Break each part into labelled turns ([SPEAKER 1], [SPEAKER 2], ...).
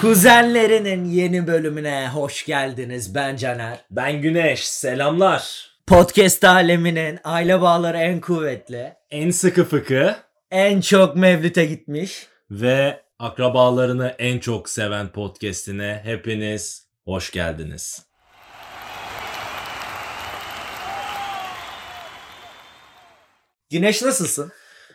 [SPEAKER 1] Kuzenlerinin yeni bölümüne hoş geldiniz. Ben Caner.
[SPEAKER 2] Ben Güneş, selamlar.
[SPEAKER 1] Podcast aleminin aile bağları en kuvvetli,
[SPEAKER 2] En sıkı fıkı
[SPEAKER 1] en çok mevlüte gitmiş.
[SPEAKER 2] ve akrabalarını en çok seven podcastine hepiniz hoş geldiniz.
[SPEAKER 1] Güneş nasılsın?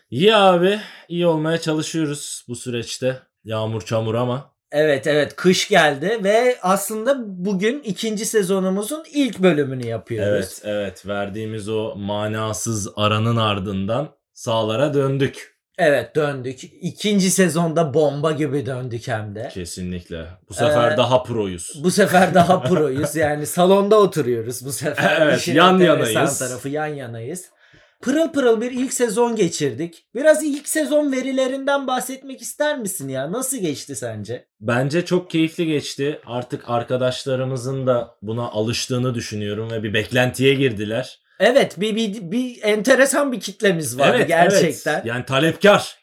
[SPEAKER 2] İyi abi, iyi olmaya çalışıyoruz bu süreçte. Yağmur çamur ama.
[SPEAKER 1] Evet evet kış geldi ve aslında bugün ikinci sezonumuzun ilk bölümünü yapıyoruz.
[SPEAKER 2] Evet, evet. Verdiğimiz o manasız aranın ardından sahalara döndük.
[SPEAKER 1] Evet döndük. İkinci sezonda bomba gibi döndük hem de.
[SPEAKER 2] Kesinlikle. Bu sefer
[SPEAKER 1] Ee,
[SPEAKER 2] daha proyuz.
[SPEAKER 1] Bu sefer daha proyuz. Yani salonda oturuyoruz bu sefer.
[SPEAKER 2] Evet,
[SPEAKER 1] İşin
[SPEAKER 2] yan
[SPEAKER 1] enteresan
[SPEAKER 2] yanayız.
[SPEAKER 1] tarafı yan yanayız. Pırıl pırıl bir ilk sezon geçirdik. Biraz ilk sezon verilerinden bahsetmek ister misin ya? Nasıl geçti sence?
[SPEAKER 2] Bence çok keyifli geçti. Artık arkadaşlarımızın da buna alıştığını düşünüyorum ve bir beklentiye girdiler.
[SPEAKER 1] Evet, bir, bir, bir enteresan bir kitlemiz vardı gerçekten. Evet.
[SPEAKER 2] evet. Yani talepkar.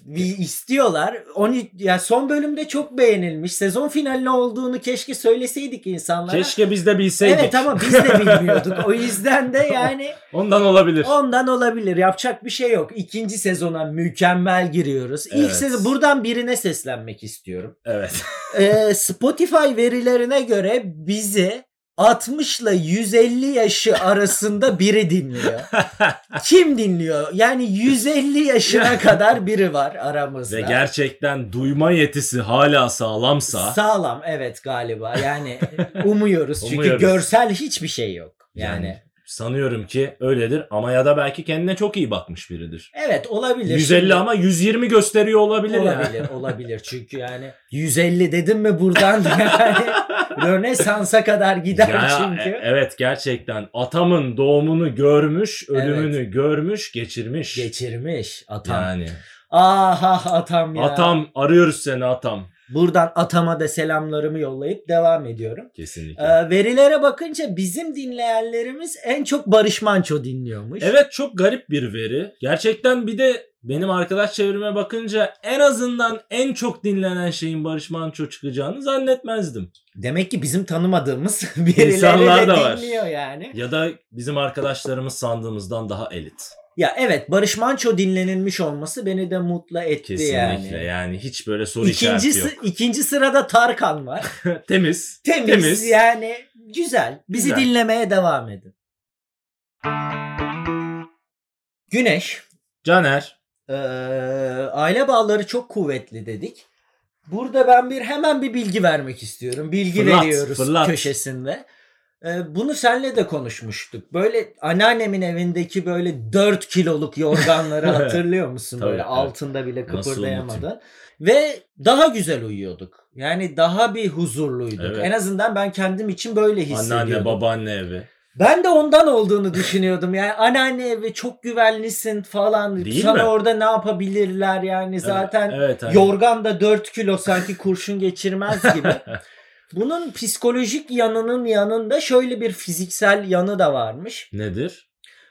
[SPEAKER 1] bir istiyorlar. 13 ya son bölümde çok beğenilmiş. Sezon finaline olduğunu keşke söyleseydik insanlara.
[SPEAKER 2] Keşke biz de bilseydik.
[SPEAKER 1] Evet ama biz de bilmiyorduk. O yüzden de yani
[SPEAKER 2] Ondan olabilir.
[SPEAKER 1] Ondan olabilir. Yapacak bir şey yok. İkinci sezona mükemmel giriyoruz. İlk
[SPEAKER 2] Evet.
[SPEAKER 1] sezon buradan birine seslenmek istiyorum.
[SPEAKER 2] Evet.
[SPEAKER 1] Ee, Spotify verilerine göre bizi 60 ile 150 yaşı arasında biri dinliyor. Kim dinliyor? Yani 150 yaşına kadar biri var aramızda.
[SPEAKER 2] Ve gerçekten duyma yetisi hala sağlamsa
[SPEAKER 1] Sağlam evet galiba. Yani umuyoruz çünkü
[SPEAKER 2] Umuyoruz.
[SPEAKER 1] görsel hiçbir şey yok. Yani,
[SPEAKER 2] Yani. sanıyorum ki öyledir ama ya da belki kendine çok iyi bakmış biridir.
[SPEAKER 1] evet olabilir.
[SPEAKER 2] 150
[SPEAKER 1] Şimdi-
[SPEAKER 2] ama 120 gösteriyor olabilir, yani.
[SPEAKER 1] Olabilir, olabilir. Çünkü yani 150 dedim mi buradan yani Rönesans'a kadar gider
[SPEAKER 2] Ya,
[SPEAKER 1] çünkü.
[SPEAKER 2] e- evet gerçekten atamın doğumunu görmüş, ölümünü görmüş, geçirmiş.
[SPEAKER 1] Geçirmiş atam.
[SPEAKER 2] yani.
[SPEAKER 1] Ah atam ya.
[SPEAKER 2] Atam arıyoruz seni atam.
[SPEAKER 1] Buradan atama da selamlarımı yollayıp devam ediyorum.
[SPEAKER 2] Kesinlikle.
[SPEAKER 1] Ee, verilere bakınca bizim dinleyenlerimiz en çok Barış Manço dinliyormuş.
[SPEAKER 2] Evet çok garip bir veri. Gerçekten bir de benim arkadaş çevreme bakınca en azından en çok dinlenen şeyin Barış Manço çıkacağını zannetmezdim.
[SPEAKER 1] Demek ki bizim tanımadığımız birileri
[SPEAKER 2] İnsanlar
[SPEAKER 1] de
[SPEAKER 2] da var.
[SPEAKER 1] dinliyor yani.
[SPEAKER 2] Ya da bizim arkadaşlarımız sandığımızdan daha elit.
[SPEAKER 1] Ya evet Barış Manço dinlenilmiş olması beni de mutlu etti
[SPEAKER 2] Kesinlikle yani,
[SPEAKER 1] yani.
[SPEAKER 2] hiç böyle soru
[SPEAKER 1] İkinci,
[SPEAKER 2] işareti yok.
[SPEAKER 1] sı- ikinci sırada Tarkan var.
[SPEAKER 2] Temiz.
[SPEAKER 1] Temiz,
[SPEAKER 2] Temiz.
[SPEAKER 1] yani güzel. Bizi
[SPEAKER 2] Güzel.
[SPEAKER 1] dinlemeye devam edin. Güneş,
[SPEAKER 2] Caner.
[SPEAKER 1] eee, Ee, aile bağları çok kuvvetli dedik. Burada ben bir hemen bir bilgi vermek istiyorum. Bilgi
[SPEAKER 2] Fırlat,
[SPEAKER 1] veriyoruz
[SPEAKER 2] fırlat.
[SPEAKER 1] köşesinde. Eee, bunu senle de konuşmuştuk. Böyle anneannemin evindeki böyle 4 kiloluk yorganları hatırlıyor musun?
[SPEAKER 2] Tabii,
[SPEAKER 1] böyle
[SPEAKER 2] evet.
[SPEAKER 1] altında bile
[SPEAKER 2] Nasıl
[SPEAKER 1] kıpırdayamadın.
[SPEAKER 2] unutayım?
[SPEAKER 1] Ve daha güzel uyuyorduk. Yani daha bir huzurluyduk.
[SPEAKER 2] Evet.
[SPEAKER 1] En azından ben kendim için böyle hissediyordum.
[SPEAKER 2] Anneanne babaanne evi.
[SPEAKER 1] Ben de ondan olduğunu düşünüyordum. Yani anneanne evi çok güvenlisin falan.
[SPEAKER 2] Değil
[SPEAKER 1] Sana
[SPEAKER 2] mi?
[SPEAKER 1] orada ne yapabilirler yani zaten
[SPEAKER 2] Evet, evet, hani
[SPEAKER 1] yorgan da 4 kilo sanki kurşun geçirmez gibi. Bunun psikolojik yanının yanında şöyle bir fiziksel yanı da varmış.
[SPEAKER 2] Nedir?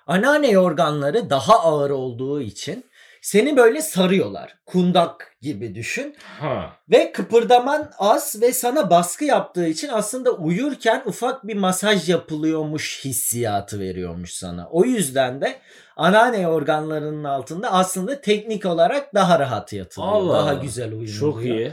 [SPEAKER 1] Anneanne yorganları daha ağır olduğu için seni böyle sarıyorlar. Kundak gibi düşün.
[SPEAKER 2] Ha.
[SPEAKER 1] Ve kıpırdaman az ve sana baskı yaptığı için aslında uyurken ufak bir masaj yapılıyormuş hissiyatı veriyormuş sana. O yüzden de anneanne organlarının altında aslında teknik olarak daha rahat yatılıyor.
[SPEAKER 2] Allah
[SPEAKER 1] daha
[SPEAKER 2] Allah.
[SPEAKER 1] güzel uyumluyor.
[SPEAKER 2] Çok iyi.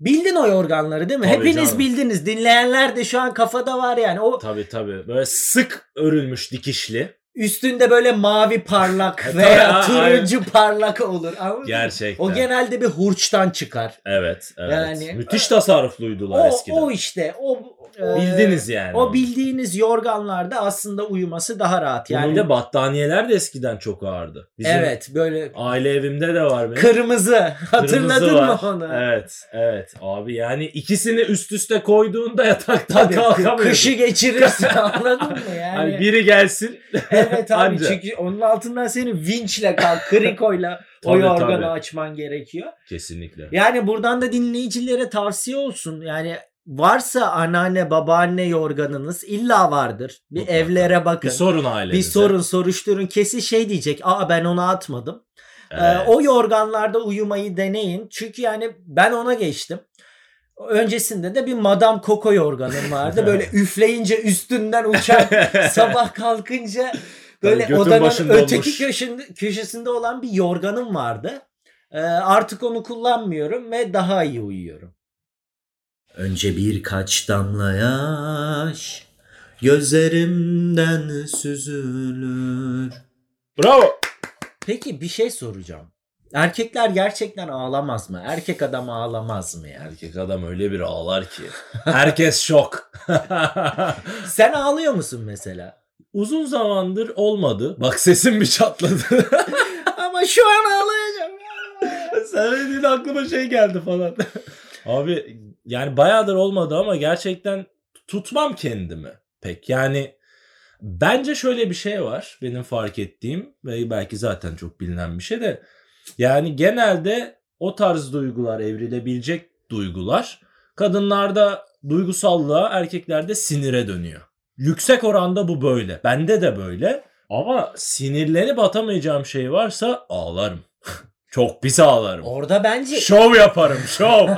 [SPEAKER 1] Bildin o organları değil mi?
[SPEAKER 2] Tabii
[SPEAKER 1] Hepiniz
[SPEAKER 2] canım.
[SPEAKER 1] bildiniz. Dinleyenler de şu an kafada var yani. O
[SPEAKER 2] Tabii tabii. Böyle sık örülmüş dikişli.
[SPEAKER 1] üstünde böyle mavi parlak
[SPEAKER 2] E,
[SPEAKER 1] veya
[SPEAKER 2] tabii, aynen.
[SPEAKER 1] turuncu parlak olur. Anladın mı?
[SPEAKER 2] Gerçekten.
[SPEAKER 1] O genelde bir hurçtan çıkar.
[SPEAKER 2] Evet, evet.
[SPEAKER 1] Yani- e,
[SPEAKER 2] Müthiş tasarrufluydular
[SPEAKER 1] O,
[SPEAKER 2] eskiden.
[SPEAKER 1] o işte. O e,
[SPEAKER 2] Bildiniz yani.
[SPEAKER 1] O bildiğiniz yorganlarda aslında uyuması daha rahat.
[SPEAKER 2] Bunun
[SPEAKER 1] Yani
[SPEAKER 2] da battaniyeler de eskiden çok ağırdı. Bizim
[SPEAKER 1] evet böyle
[SPEAKER 2] aile evimde de var benim.
[SPEAKER 1] kırmızı.
[SPEAKER 2] Kırmızı
[SPEAKER 1] Hatırladın
[SPEAKER 2] var.
[SPEAKER 1] mı onu?
[SPEAKER 2] Evet, evet. Abi yani ikisini üst üste koyduğunda yataktan
[SPEAKER 1] Tabii,
[SPEAKER 2] kalkamıyordun.
[SPEAKER 1] kışı geçirirsin anladın mı yani?
[SPEAKER 2] Hani biri gelsin.
[SPEAKER 1] evet abi
[SPEAKER 2] Anca.
[SPEAKER 1] çünkü onun altından seni vinçle kalk, krikoyla o
[SPEAKER 2] Tabii,
[SPEAKER 1] yorganı
[SPEAKER 2] tabii.
[SPEAKER 1] açman gerekiyor.
[SPEAKER 2] Kesinlikle.
[SPEAKER 1] Yani buradan da dinleyicilere tavsiye olsun. Yani varsa anneanne babaanne yorganınız illa vardır. Bir
[SPEAKER 2] Mutlaka.
[SPEAKER 1] evlere bakın.
[SPEAKER 2] Bir sorun ailenize.
[SPEAKER 1] bir sorun soruşturun. Kesin şey diyecek. Aa ben onu atmadım. Ee,
[SPEAKER 2] Evet.
[SPEAKER 1] o yorganlarda uyumayı deneyin. Çünkü yani ben ona geçtim. Öncesinde de bir Madame Coco yorganım vardı. Böyle üfleyince üstünden uçan sabah kalkınca böyle
[SPEAKER 2] Tabii götün
[SPEAKER 1] odanın
[SPEAKER 2] başında
[SPEAKER 1] öteki
[SPEAKER 2] olmuş.
[SPEAKER 1] köşesinde, köşesinde olan bir yorganım vardı. Ee, artık onu kullanmıyorum ve daha iyi uyuyorum. Önce birkaç damla yaş gözlerimden süzülür.
[SPEAKER 2] Bravo.
[SPEAKER 1] Peki bir şey soracağım. Erkekler gerçekten ağlamaz mı? Erkek adam ağlamaz mı yani?
[SPEAKER 2] Erkek adam öyle bir ağlar ki. Herkes şok.
[SPEAKER 1] Sen ağlıyor musun mesela?
[SPEAKER 2] Uzun zamandır olmadı. Bak sesim bir çatladı.
[SPEAKER 1] Ama şu an ağlayacağım.
[SPEAKER 2] Sen dediğin aklıma şey geldi falan. Abi yani bayağıdır olmadı ama gerçekten tutmam kendimi pek. Yani bence şöyle bir şey var benim fark ettiğim ve belki zaten çok bilinen bir şey de yani genelde o tarz duygular evrilebilecek duygular kadınlarda duygusallığa erkeklerde sinire dönüyor. Yüksek oranda bu böyle. Bende de böyle. Ama sinirlenip atamayacağım şey varsa ağlarım. Çok pis ağlarım.
[SPEAKER 1] Orada bence
[SPEAKER 2] Şov yaparım şov.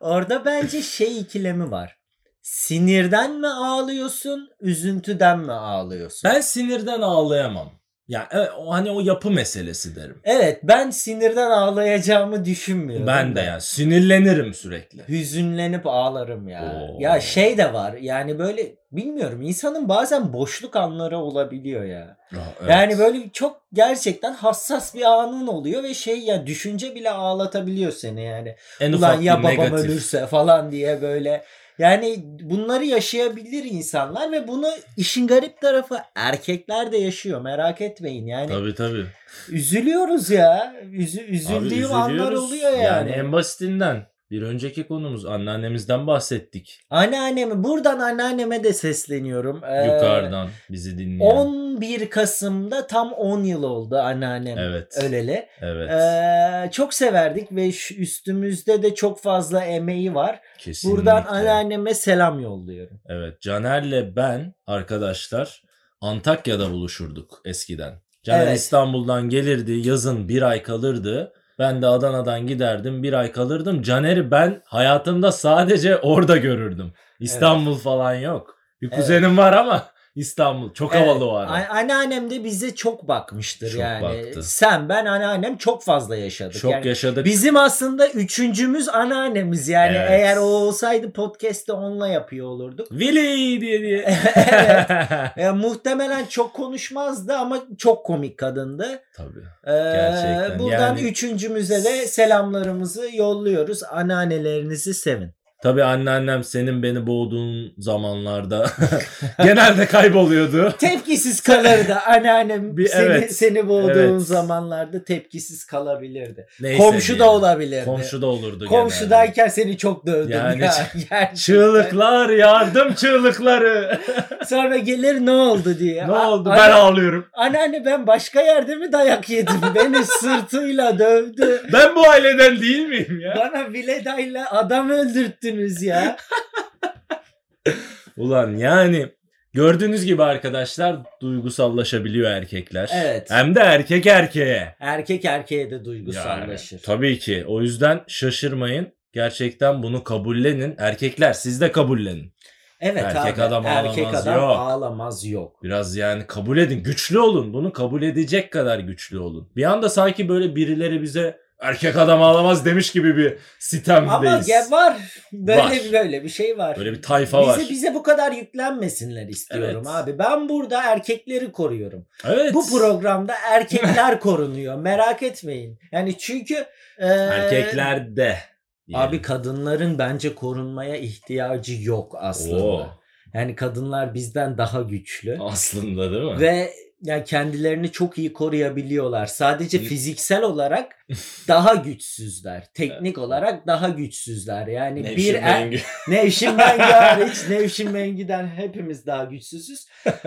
[SPEAKER 1] Orada bence şey ikilemi var. Sinirden mi ağlıyorsun, üzüntüden mi ağlıyorsun?
[SPEAKER 2] ben sinirden ağlayamam. Yani e, o hani o yapı meselesi derim.
[SPEAKER 1] Evet, ben sinirden ağlayacağımı düşünmüyorum.
[SPEAKER 2] Ben de yani sinirlenirim sürekli.
[SPEAKER 1] Hüzünlenip ağlarım ya.
[SPEAKER 2] Oo.
[SPEAKER 1] Ya şey de var. Yani böyle bilmiyorum insanın bazen boşluk anları olabiliyor ya.
[SPEAKER 2] Aa, evet.
[SPEAKER 1] Yani böyle çok gerçekten hassas bir anın oluyor ve şey ya düşünce bile ağlatabiliyor seni yani.
[SPEAKER 2] en
[SPEAKER 1] Ulan
[SPEAKER 2] ufak
[SPEAKER 1] ya
[SPEAKER 2] bir
[SPEAKER 1] babam
[SPEAKER 2] negatif.
[SPEAKER 1] ölürse falan diye böyle. Yani bunları yaşayabilir insanlar ve bunu işin garip tarafı erkekler de yaşıyor merak etmeyin. Yani
[SPEAKER 2] Tabii tabii.
[SPEAKER 1] üzülüyoruz ya. Üzü,
[SPEAKER 2] Abi
[SPEAKER 1] üzüldüğüm
[SPEAKER 2] üzülüyoruz.
[SPEAKER 1] anlar oluyor yani.
[SPEAKER 2] en basitinden bir önceki konumuz anneannemizden bahsettik.
[SPEAKER 1] Anneannemi buradan anneanneme de sesleniyorum. Ee,
[SPEAKER 2] Yukarıdan bizi dinleyen.
[SPEAKER 1] 11 Kasım'da tam 10 yıl oldu anneannem
[SPEAKER 2] Evet.
[SPEAKER 1] öleli.
[SPEAKER 2] Evet.
[SPEAKER 1] Ee, çok severdik ve şu üstümüzde de çok fazla emeği var.
[SPEAKER 2] kesinlikle.
[SPEAKER 1] Buradan anneanneme selam yolluyorum.
[SPEAKER 2] Evet. Caner'le ben arkadaşlar Antakya'da buluşurduk eskiden. Caner
[SPEAKER 1] Evet.
[SPEAKER 2] İstanbul'dan gelirdi. Yazın bir ay kalırdı. Ben de Adana'dan giderdim. Bir ay kalırdım. Caner'i ben hayatımda sadece orada görürdüm. İstanbul falan yok. Bir
[SPEAKER 1] Evet.
[SPEAKER 2] kuzenim var ama İstanbul çok havalı
[SPEAKER 1] Evet,
[SPEAKER 2] var.
[SPEAKER 1] an- Ee, Anneannem de bize çok bakmıştır
[SPEAKER 2] Çok
[SPEAKER 1] yani.
[SPEAKER 2] baktı.
[SPEAKER 1] Sen ben anneannem çok fazla yaşadık.
[SPEAKER 2] Çok
[SPEAKER 1] yani
[SPEAKER 2] yaşadık.
[SPEAKER 1] bizim aslında üçüncümüz anneannemiz yani.
[SPEAKER 2] Evet.
[SPEAKER 1] Eğer o olsaydı podcast'te onunla yapıyor olurduk.
[SPEAKER 2] Vili diye diye.
[SPEAKER 1] Evet. E, muhtemelen çok konuşmazdı ama çok komik kadındı.
[SPEAKER 2] Tabii.
[SPEAKER 1] E,
[SPEAKER 2] Gerçekten,
[SPEAKER 1] buradan
[SPEAKER 2] yani-
[SPEAKER 1] üçüncümüze de selamlarımızı yolluyoruz. Anneannelerinizi sevin.
[SPEAKER 2] Tabii anneannem senin beni boğduğun zamanlarda genelde kayboluyordu.
[SPEAKER 1] Tepkisiz kalırdı anneannem
[SPEAKER 2] Bir-
[SPEAKER 1] seni,
[SPEAKER 2] evet.
[SPEAKER 1] seni boğduğun
[SPEAKER 2] Evet.
[SPEAKER 1] zamanlarda tepkisiz kalabilirdi.
[SPEAKER 2] Neyse
[SPEAKER 1] Komşu da
[SPEAKER 2] diyelim.
[SPEAKER 1] olabilirdi.
[SPEAKER 2] Komşu da olurdu genelde.
[SPEAKER 1] Komşudayken seni çok dövdüm
[SPEAKER 2] Yani
[SPEAKER 1] ya.
[SPEAKER 2] ç-
[SPEAKER 1] Gerçekten.
[SPEAKER 2] Çığlıklar yardım çığlıkları.
[SPEAKER 1] Sonra gelir ne oldu diye.
[SPEAKER 2] ne
[SPEAKER 1] A-
[SPEAKER 2] oldu
[SPEAKER 1] ana-
[SPEAKER 2] ben ağlıyorum.
[SPEAKER 1] Anneanne ben başka yerde mi dayak yedim? Beni sırtıyla dövdü.
[SPEAKER 2] Ben bu aileden değil miyim ya?
[SPEAKER 1] Bana Vileda'yla adam öldürttünüz ya.
[SPEAKER 2] Ulan yani gördüğünüz gibi arkadaşlar duygusallaşabiliyor erkekler.
[SPEAKER 1] Evet.
[SPEAKER 2] Hem de erkek erkeğe.
[SPEAKER 1] Erkek erkeğe de
[SPEAKER 2] Yani,
[SPEAKER 1] duygusallaşır.
[SPEAKER 2] tabii ki. O yüzden şaşırmayın. Gerçekten bunu kabullenin. Erkekler siz de kabullenin.
[SPEAKER 1] evet
[SPEAKER 2] Erkek
[SPEAKER 1] abi.
[SPEAKER 2] adam
[SPEAKER 1] erkek
[SPEAKER 2] ağlamaz,
[SPEAKER 1] adam
[SPEAKER 2] yok.
[SPEAKER 1] ağlamaz yok.
[SPEAKER 2] Biraz yani kabul edin. Güçlü olun. Bunu kabul edecek kadar güçlü olun. Bir anda sanki böyle birileri bize erkek adam ağlamaz demiş gibi bir
[SPEAKER 1] Ama
[SPEAKER 2] sitemdeyiz.
[SPEAKER 1] ya var. Böyle
[SPEAKER 2] Var.
[SPEAKER 1] bir böyle bir şey var.
[SPEAKER 2] Böyle bir tayfa var.
[SPEAKER 1] bize bize bu kadar yüklenmesinler istiyorum
[SPEAKER 2] Evet.
[SPEAKER 1] abi. Ben burada erkekleri koruyorum.
[SPEAKER 2] Evet.
[SPEAKER 1] Bu programda erkekler korunuyor. Merak etmeyin. Yani çünkü e,
[SPEAKER 2] Erkekler de. diyelim.
[SPEAKER 1] abi kadınların bence korunmaya ihtiyacı yok aslında.
[SPEAKER 2] Oo,
[SPEAKER 1] Yani kadınlar bizden daha güçlü
[SPEAKER 2] aslında değil mi?
[SPEAKER 1] ve yani kendilerini çok iyi koruyabiliyorlar. Sadece fiziksel olarak daha güçsüzler. Teknik olarak daha güçsüzler. Yani bir
[SPEAKER 2] Nevşin
[SPEAKER 1] er,
[SPEAKER 2] Mengü.
[SPEAKER 1] Nevşin Mengü hariç Nevşin Mengü'den hepimiz daha güçsüzüz.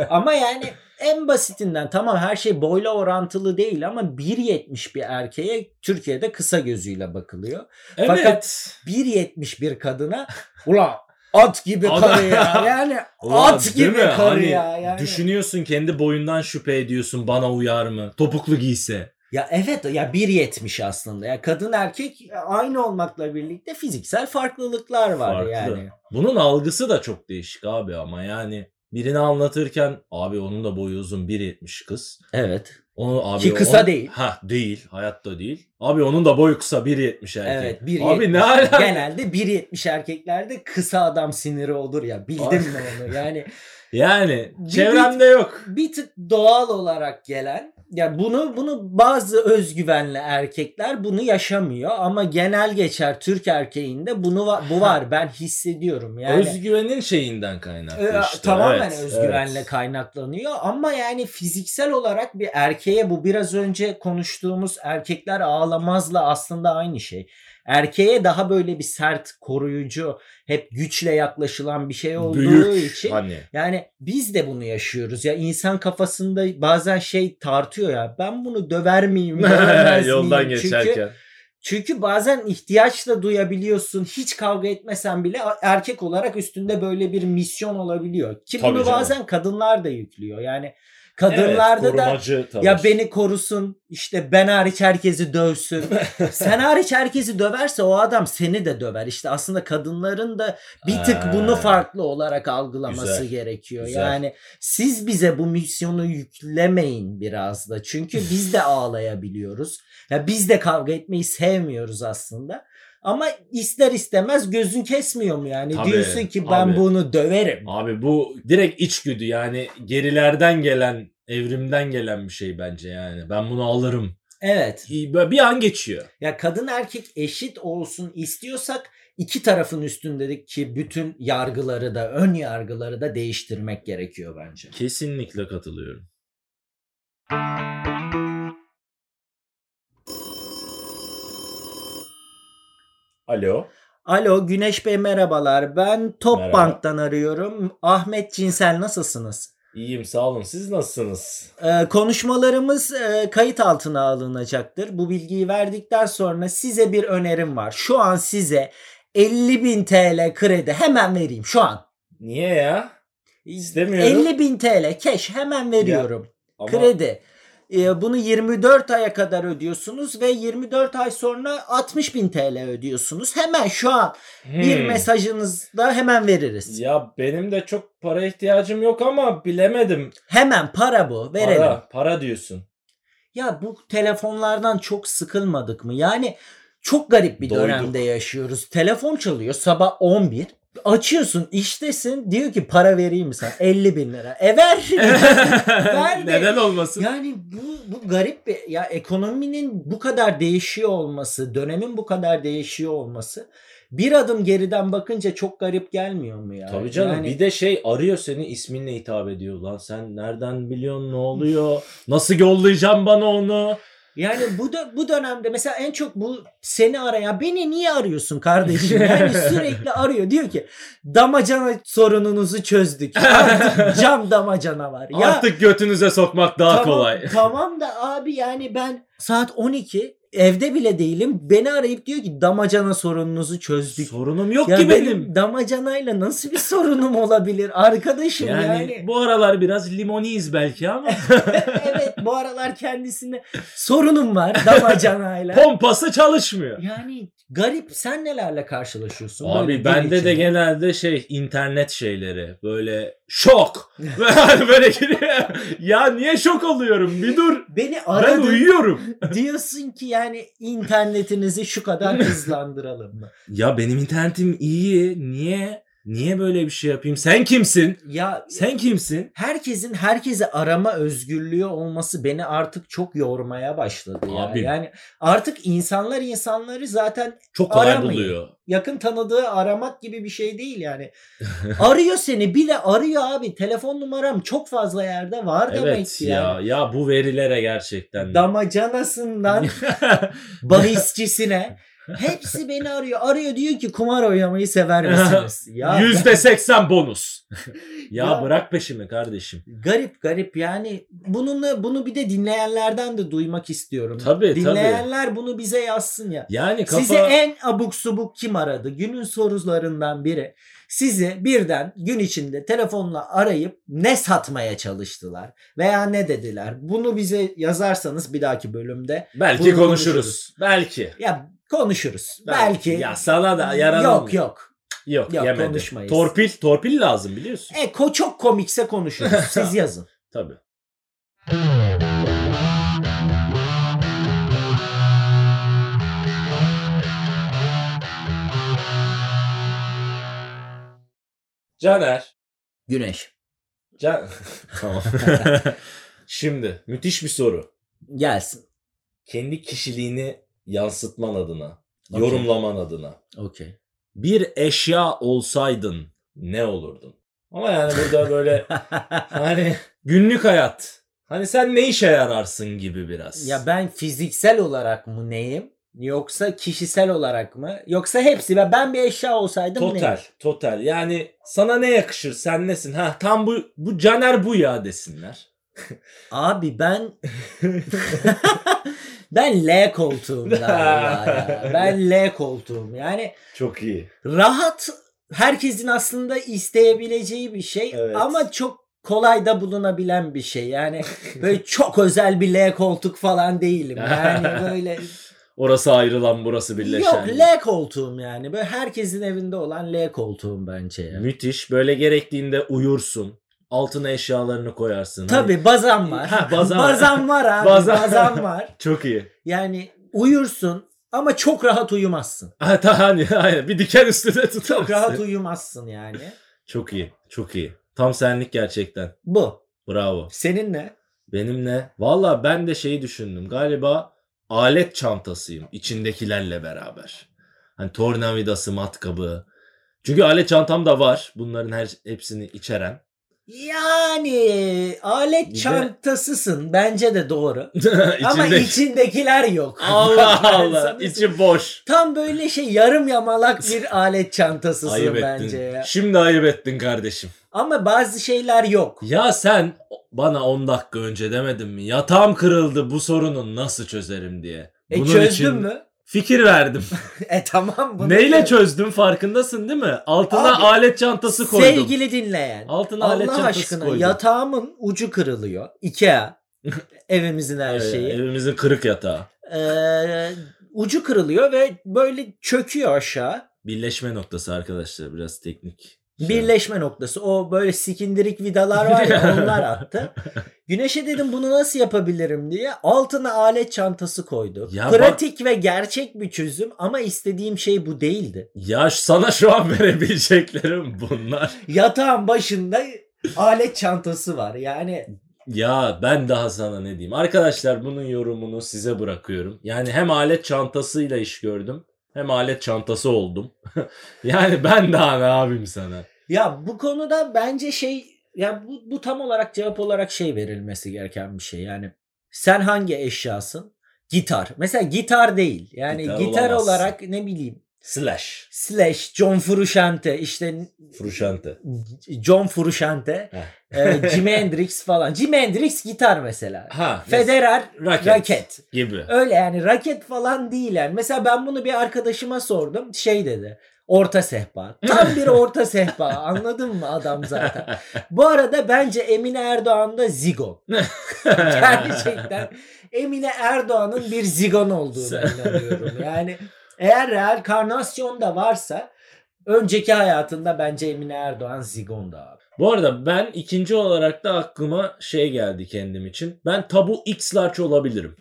[SPEAKER 1] Ama yani en basitinden tamam her şey boyla orantılı değil ama 1.70 bir erkeğe Türkiye'de kısa gözüyle bakılıyor.
[SPEAKER 2] Evet.
[SPEAKER 1] Fakat 1.70 bir kadına ulan at gibi
[SPEAKER 2] Adam-
[SPEAKER 1] karı ya. Yani
[SPEAKER 2] Ulan,
[SPEAKER 1] at
[SPEAKER 2] değil
[SPEAKER 1] gibi
[SPEAKER 2] mi?
[SPEAKER 1] karı
[SPEAKER 2] Hani
[SPEAKER 1] ya. Yani.
[SPEAKER 2] Düşünüyorsun kendi boyundan şüphe ediyorsun bana uyar mı? Topuklu giyse.
[SPEAKER 1] Ya evet ya 1.70 aslında. Ya kadın erkek aynı olmakla birlikte fiziksel farklılıklar var
[SPEAKER 2] Farklı.
[SPEAKER 1] yani.
[SPEAKER 2] Bunun algısı da çok değişik abi ama yani birini anlatırken abi onun da boyu uzun 1.70 kız.
[SPEAKER 1] Evet.
[SPEAKER 2] Onu abi
[SPEAKER 1] Ki kısa
[SPEAKER 2] on-
[SPEAKER 1] değil.
[SPEAKER 2] Ha değil, hayatta değil. Abi onun da boyu kısa 1.70 erkek.
[SPEAKER 1] Evet 1.70.
[SPEAKER 2] Abi ne alaka?
[SPEAKER 1] Genelde 1.70 erkeklerde kısa adam siniri olur ya.
[SPEAKER 2] Ay.
[SPEAKER 1] Bildim mi onu? Yani
[SPEAKER 2] Yani
[SPEAKER 1] Bir-
[SPEAKER 2] çevremde yok.
[SPEAKER 1] bir tık doğal olarak gelen ya bunu bunu bazı özgüvenli erkekler bunu yaşamıyor ama genel geçer Türk erkeğinde bunu va- bu var ben hissediyorum yani.
[SPEAKER 2] Özgüvenin şeyinden kaynaklı
[SPEAKER 1] Ee,
[SPEAKER 2] işte.
[SPEAKER 1] tamamen
[SPEAKER 2] evet,
[SPEAKER 1] özgüvenle
[SPEAKER 2] evet.
[SPEAKER 1] kaynaklanıyor ama yani fiziksel olarak bir erkeğe bu biraz önce konuştuğumuz erkekler ağlamazla aslında aynı şey. Erkeğe daha böyle bir sert, koruyucu, hep güçle yaklaşılan bir şey olduğu
[SPEAKER 2] Büyük
[SPEAKER 1] için
[SPEAKER 2] hani.
[SPEAKER 1] yani biz de bunu yaşıyoruz. Ya insan kafasında bazen şey tartıyor ya. Ben bunu döver miyim? dövemez
[SPEAKER 2] Yoldan
[SPEAKER 1] miyim? Çünkü,
[SPEAKER 2] geçerken.
[SPEAKER 1] çünkü bazen ihtiyaç da duyabiliyorsun. Hiç kavga etmesen bile a- erkek olarak üstünde böyle bir misyon olabiliyor. Ki
[SPEAKER 2] Tabii
[SPEAKER 1] bunu
[SPEAKER 2] canım.
[SPEAKER 1] bazen kadınlar da yüklüyor. Yani kadınlarda
[SPEAKER 2] evet,
[SPEAKER 1] da
[SPEAKER 2] korumacı tavır.
[SPEAKER 1] ya beni korusun, işte ben hariç herkesi dövsün. Sen hariç herkesi döverse o adam seni de döver. İşte aslında kadınların da bir tık
[SPEAKER 2] Ha.
[SPEAKER 1] bunu farklı olarak algılaması
[SPEAKER 2] Güzel,
[SPEAKER 1] gerekiyor.
[SPEAKER 2] güzel.
[SPEAKER 1] Yani siz bize bu misyonu yüklemeyin biraz da. Çünkü biz de ağlayabiliyoruz. Ya biz de kavga etmeyi sevmiyoruz aslında. Ama ister istemez gözün kesmiyor mu yani?
[SPEAKER 2] Tabii,
[SPEAKER 1] Diyorsun ki ben
[SPEAKER 2] tabii.
[SPEAKER 1] bunu döverim.
[SPEAKER 2] Abi bu direkt içgüdü yani gerilerden gelen evrimden gelen bir şey bence yani. Ben bunu alırım.
[SPEAKER 1] Evet.
[SPEAKER 2] Böyle bir an geçiyor.
[SPEAKER 1] Ya kadın erkek eşit olsun istiyorsak iki tarafın üstündeki bütün yargıları da ön yargıları da değiştirmek gerekiyor bence.
[SPEAKER 2] Kesinlikle katılıyorum. Alo.
[SPEAKER 1] Alo Güneş Bey merhabalar. Ben
[SPEAKER 2] Merhaba.
[SPEAKER 1] Topbank'tan arıyorum. Ahmet Cinsel nasılsınız?
[SPEAKER 2] İyiyim sağ olun. Siz nasılsınız?
[SPEAKER 1] Ee, konuşmalarımız e, kayıt altına alınacaktır. Bu bilgiyi verdikten sonra size bir önerim var. Şu an size 50.000 TL kredi hemen vereyim şu an.
[SPEAKER 2] Niye ya? İstemiyorum.
[SPEAKER 1] 50.000 TL cash hemen veriyorum.
[SPEAKER 2] Ama
[SPEAKER 1] Kredi. Ee, bunu 24 aya kadar ödüyorsunuz ve 24 ay sonra 60.000 TL ödüyorsunuz. Hemen şu an bir
[SPEAKER 2] Hmm.
[SPEAKER 1] mesajınızda hemen veririz.
[SPEAKER 2] Ya benim de çok para ihtiyacım yok ama bilemedim.
[SPEAKER 1] Hemen para bu. Verelim.
[SPEAKER 2] Para, para diyorsun.
[SPEAKER 1] Ya bu telefonlardan çok sıkılmadık mı? Yani çok garip bir
[SPEAKER 2] Doyduk.
[SPEAKER 1] dönemde yaşıyoruz. Telefon çalıyor sabah 11. Açıyorsun iştesin diyor ki para vereyim mi sana 50 bin lira. E ver. Ver de-
[SPEAKER 2] Neden olmasın?
[SPEAKER 1] yani bu, bu garip bir ya ekonominin bu kadar değişiyor olması, dönemin bu kadar değişiyor olması bir adım geriden bakınca çok garip gelmiyor mu ya?
[SPEAKER 2] Tabii canım
[SPEAKER 1] Yani-
[SPEAKER 2] bir de şey arıyor seni isminle hitap ediyor lan sen nereden biliyorsun ne oluyor nasıl yollayacağım bana onu
[SPEAKER 1] Yani bu da bu dönemde mesela en çok bu seni arayan beni niye arıyorsun kardeşim? Yani sürekli arıyor. Diyor ki damacana sorununuzu çözdük. Artık cam damacana var. Ya
[SPEAKER 2] artık götünüze sokmak daha
[SPEAKER 1] tamam,
[SPEAKER 2] kolay.
[SPEAKER 1] Tamam da abi yani ben saat 12 evde bile değilim. Beni arayıp diyor ki damacana sorununuzu çözdük.
[SPEAKER 2] Sorunum yok
[SPEAKER 1] ya
[SPEAKER 2] ki benim.
[SPEAKER 1] damacanayla nasıl bir sorunum olabilir arkadaşım
[SPEAKER 2] Yani,
[SPEAKER 1] yani.
[SPEAKER 2] bu aralar biraz limoniyiz belki ama
[SPEAKER 1] evet bu aralar kendisine sorunum var damacanayla.
[SPEAKER 2] pompası çalışmıyor.
[SPEAKER 1] Yani garip sen nelerle karşılaşıyorsun?
[SPEAKER 2] Abi
[SPEAKER 1] Böyle gün
[SPEAKER 2] bende de
[SPEAKER 1] içinde.
[SPEAKER 2] genelde şey internet şeyleri böyle şok böyle giriyor. Ya niye şok oluyorum? Bir dur.
[SPEAKER 1] Beni
[SPEAKER 2] Ben
[SPEAKER 1] aradın
[SPEAKER 2] uyuyorum.
[SPEAKER 1] diyorsun ki yani internetinizi şu kadar hızlandıralım mı?
[SPEAKER 2] Ya benim internetim iyi. Niye? Niye böyle bir şey yapayım? Sen kimsin?
[SPEAKER 1] Ya
[SPEAKER 2] Sen kimsin?
[SPEAKER 1] herkesin herkese arama özgürlüğü olması beni artık çok yormaya başladı ya.
[SPEAKER 2] Abi.
[SPEAKER 1] Yani artık insanlar insanları zaten
[SPEAKER 2] Çok kolay
[SPEAKER 1] Aramayın.
[SPEAKER 2] buluyor.
[SPEAKER 1] yakın tanıdığı aramak gibi bir şey değil yani. arıyor seni bile arıyor abi. Telefon numaram çok fazla yerde var demek
[SPEAKER 2] Evet
[SPEAKER 1] ki
[SPEAKER 2] ya.
[SPEAKER 1] yani.
[SPEAKER 2] Ya bu verilere gerçekten.
[SPEAKER 1] Damacanasından bahisçisine Hepsi beni arıyor. Arıyor diyor ki kumar oynamayı sever misiniz? Ya
[SPEAKER 2] %80 bonus. ya,
[SPEAKER 1] Ya-
[SPEAKER 2] bırak peşimi kardeşim.
[SPEAKER 1] garip garip yani bununla bunu bir de dinleyenlerden de duymak istiyorum.
[SPEAKER 2] Tabii tabii.
[SPEAKER 1] Dinleyenler bunu bize yazsın ya.
[SPEAKER 2] Yani kafa
[SPEAKER 1] Size en abuk subuk kim aradı? Günün sorularından biri. Sizi birden gün içinde telefonla arayıp ne satmaya çalıştılar veya ne dediler? Bunu bize yazarsanız bir dahaki bölümde
[SPEAKER 2] belki
[SPEAKER 1] Bunu
[SPEAKER 2] konuşuruz.
[SPEAKER 1] konuşuruz.
[SPEAKER 2] Belki.
[SPEAKER 1] ya konuşuruz. Belki.
[SPEAKER 2] Ya sana da yarar
[SPEAKER 1] yok
[SPEAKER 2] olmuyor.
[SPEAKER 1] yok.
[SPEAKER 2] Yok,
[SPEAKER 1] Yok,
[SPEAKER 2] yemedi.
[SPEAKER 1] konuşmayız.
[SPEAKER 2] Torpil, torpil lazım biliyorsun.
[SPEAKER 1] E ko- çok komikse konuşuruz. Siz yazın.
[SPEAKER 2] Tabii. Caner.
[SPEAKER 1] Güneş
[SPEAKER 2] Can... tamam. Şimdi müthiş bir soru.
[SPEAKER 1] gelsin.
[SPEAKER 2] Kendi kişiliğini yansıtman adına,
[SPEAKER 1] Okey.
[SPEAKER 2] yorumlaman adına.
[SPEAKER 1] Okey.
[SPEAKER 2] Bir eşya olsaydın ne olurdun? Ama yani burada böyle hani günlük hayat. Hani sen ne işe yararsın gibi biraz.
[SPEAKER 1] ya ben fiziksel olarak mı neyim? Yoksa kişisel olarak mı? Yoksa hepsi. Ben- Ben bir eşya olsaydım
[SPEAKER 2] total,
[SPEAKER 1] neyim?
[SPEAKER 2] total. Yani sana ne yakışır? Sen nesin? Ha tam bu bu Caner bu ya desinler.
[SPEAKER 1] Abi ben ben L koltuğum galiba ya. Ben L koltuğum. Yani
[SPEAKER 2] Çok iyi.
[SPEAKER 1] rahat herkesin aslında isteyebileceği bir şey
[SPEAKER 2] Evet.
[SPEAKER 1] ama çok kolay da bulunabilen bir şey. Yani böyle çok özel bir L koltuk falan değilim. Yani böyle
[SPEAKER 2] Orası ayrılan, burası birleşen.
[SPEAKER 1] yok L koltuğum yani. Böyle herkesin evinde olan L koltuğum bence ya.
[SPEAKER 2] Müthiş. Böyle gerektiğinde uyursun. Altına eşyalarını koyarsın. Hani-
[SPEAKER 1] Tabii bazan var.
[SPEAKER 2] Ha, bazan var.
[SPEAKER 1] bazan var abi.
[SPEAKER 2] Bazan-
[SPEAKER 1] bazan var.
[SPEAKER 2] Çok iyi.
[SPEAKER 1] Yani uyursun ama çok rahat uyumazsın.
[SPEAKER 2] Ha, ta- hani, aynen. Bir diken üstüne tutarsın.
[SPEAKER 1] Çok rahat uyumazsın yani.
[SPEAKER 2] Çok iyi. Çok iyi. Tam senlik gerçekten.
[SPEAKER 1] Bu.
[SPEAKER 2] Bravo.
[SPEAKER 1] Senin ne?
[SPEAKER 2] Benimle. Valla ben de şeyi düşündüm. Galiba alet çantasıyım içindekilerle beraber. Hani tornavidası, matkabı. Çünkü alet çantam da var. Bunların her hepsini içeren.
[SPEAKER 1] Yani alet
[SPEAKER 2] Bir de-
[SPEAKER 1] çantasısın. Bence de doğru.
[SPEAKER 2] İçindeki-
[SPEAKER 1] Ama içindekiler yok.
[SPEAKER 2] Allah
[SPEAKER 1] Ben
[SPEAKER 2] Allah.
[SPEAKER 1] sana-
[SPEAKER 2] içi boş.
[SPEAKER 1] Tam böyle şey yarım yamalak bir alet çantasısın
[SPEAKER 2] Ayıp
[SPEAKER 1] bence
[SPEAKER 2] ettin.
[SPEAKER 1] ya.
[SPEAKER 2] Şimdi ayıp ettin kardeşim.
[SPEAKER 1] Ama bazı şeyler yok.
[SPEAKER 2] Ya sen bana 10 dakika önce demedin mi? Yatağım kırıldı bu sorunun nasıl çözerim diye.
[SPEAKER 1] E
[SPEAKER 2] Bunun
[SPEAKER 1] çözdün
[SPEAKER 2] için
[SPEAKER 1] mü?
[SPEAKER 2] Fikir verdim.
[SPEAKER 1] E tamam bunu.
[SPEAKER 2] Neyle
[SPEAKER 1] çöz-
[SPEAKER 2] çözdüm farkındasın değil mi? Altına
[SPEAKER 1] Abi,
[SPEAKER 2] alet çantası koydum.
[SPEAKER 1] Sevgili dinleyen.
[SPEAKER 2] Altına alet
[SPEAKER 1] Allah
[SPEAKER 2] çantası
[SPEAKER 1] aşkına
[SPEAKER 2] koydum.
[SPEAKER 1] yatağımın ucu kırılıyor. Ikea. Evimizin her
[SPEAKER 2] Evet,
[SPEAKER 1] şeyi.
[SPEAKER 2] Ee, Evimizin kırık yatağı.
[SPEAKER 1] Ee, ucu kırılıyor ve böyle çöküyor aşağı.
[SPEAKER 2] Birleşme noktası arkadaşlar biraz teknik. şey.
[SPEAKER 1] Birleşme noktası. O böyle sikindirik vidalar var ya onlar attı. Güneşe dedim bunu nasıl yapabilirim diye altına alet çantası koydu.
[SPEAKER 2] Ya
[SPEAKER 1] Pratik ve gerçek bir çözüm ama istediğim şey bu değildi.
[SPEAKER 2] Ya şu- sana şu an verebileceklerim bunlar.
[SPEAKER 1] Yatağın başında alet çantası var. Yani
[SPEAKER 2] Ya ben daha sana ne diyeyim. Arkadaşlar bunun yorumunu size bırakıyorum. Yani hem alet çantasıyla iş gördüm. Hem alet çantası oldum. yani ben daha ne yapayım sana.
[SPEAKER 1] ya bu konuda bence şey ya bu, bu tam olarak cevap olarak şey verilmesi gereken bir şey. Yani sen hangi eşyasın? Gitar. Mesela gitar değil. Yani
[SPEAKER 2] Gitar
[SPEAKER 1] gitar,
[SPEAKER 2] olamazsın.
[SPEAKER 1] olarak ne bileyim
[SPEAKER 2] Slash.
[SPEAKER 1] slash John Frusciante işte
[SPEAKER 2] Fruşante.
[SPEAKER 1] John Frusciante,
[SPEAKER 2] Heh.
[SPEAKER 1] e, Jimi Hendrix falan. Jimi Hendrix gitar mesela.
[SPEAKER 2] Ha.
[SPEAKER 1] Federer
[SPEAKER 2] Raket.
[SPEAKER 1] raket.
[SPEAKER 2] Gibi.
[SPEAKER 1] Öyle yani raket falan değil yani. Mesela ben bunu bir arkadaşıma sordum. Şey dedi. Orta sehpa. Tam bir orta sehpa. Anladın mı adam zaten? Bu arada bence Emine Erdoğan da zigon. Gerçekten Emine Erdoğan'ın bir zigon olduğunu
[SPEAKER 2] Sen-
[SPEAKER 1] inanıyorum. Yani eğer reenkarnasyon da varsa önceki hayatında bence Emine Erdoğan zigon da abi.
[SPEAKER 2] Bu arada ben ikinci olarak da aklıma şey geldi kendim için. Ben tabu X large olabilirim.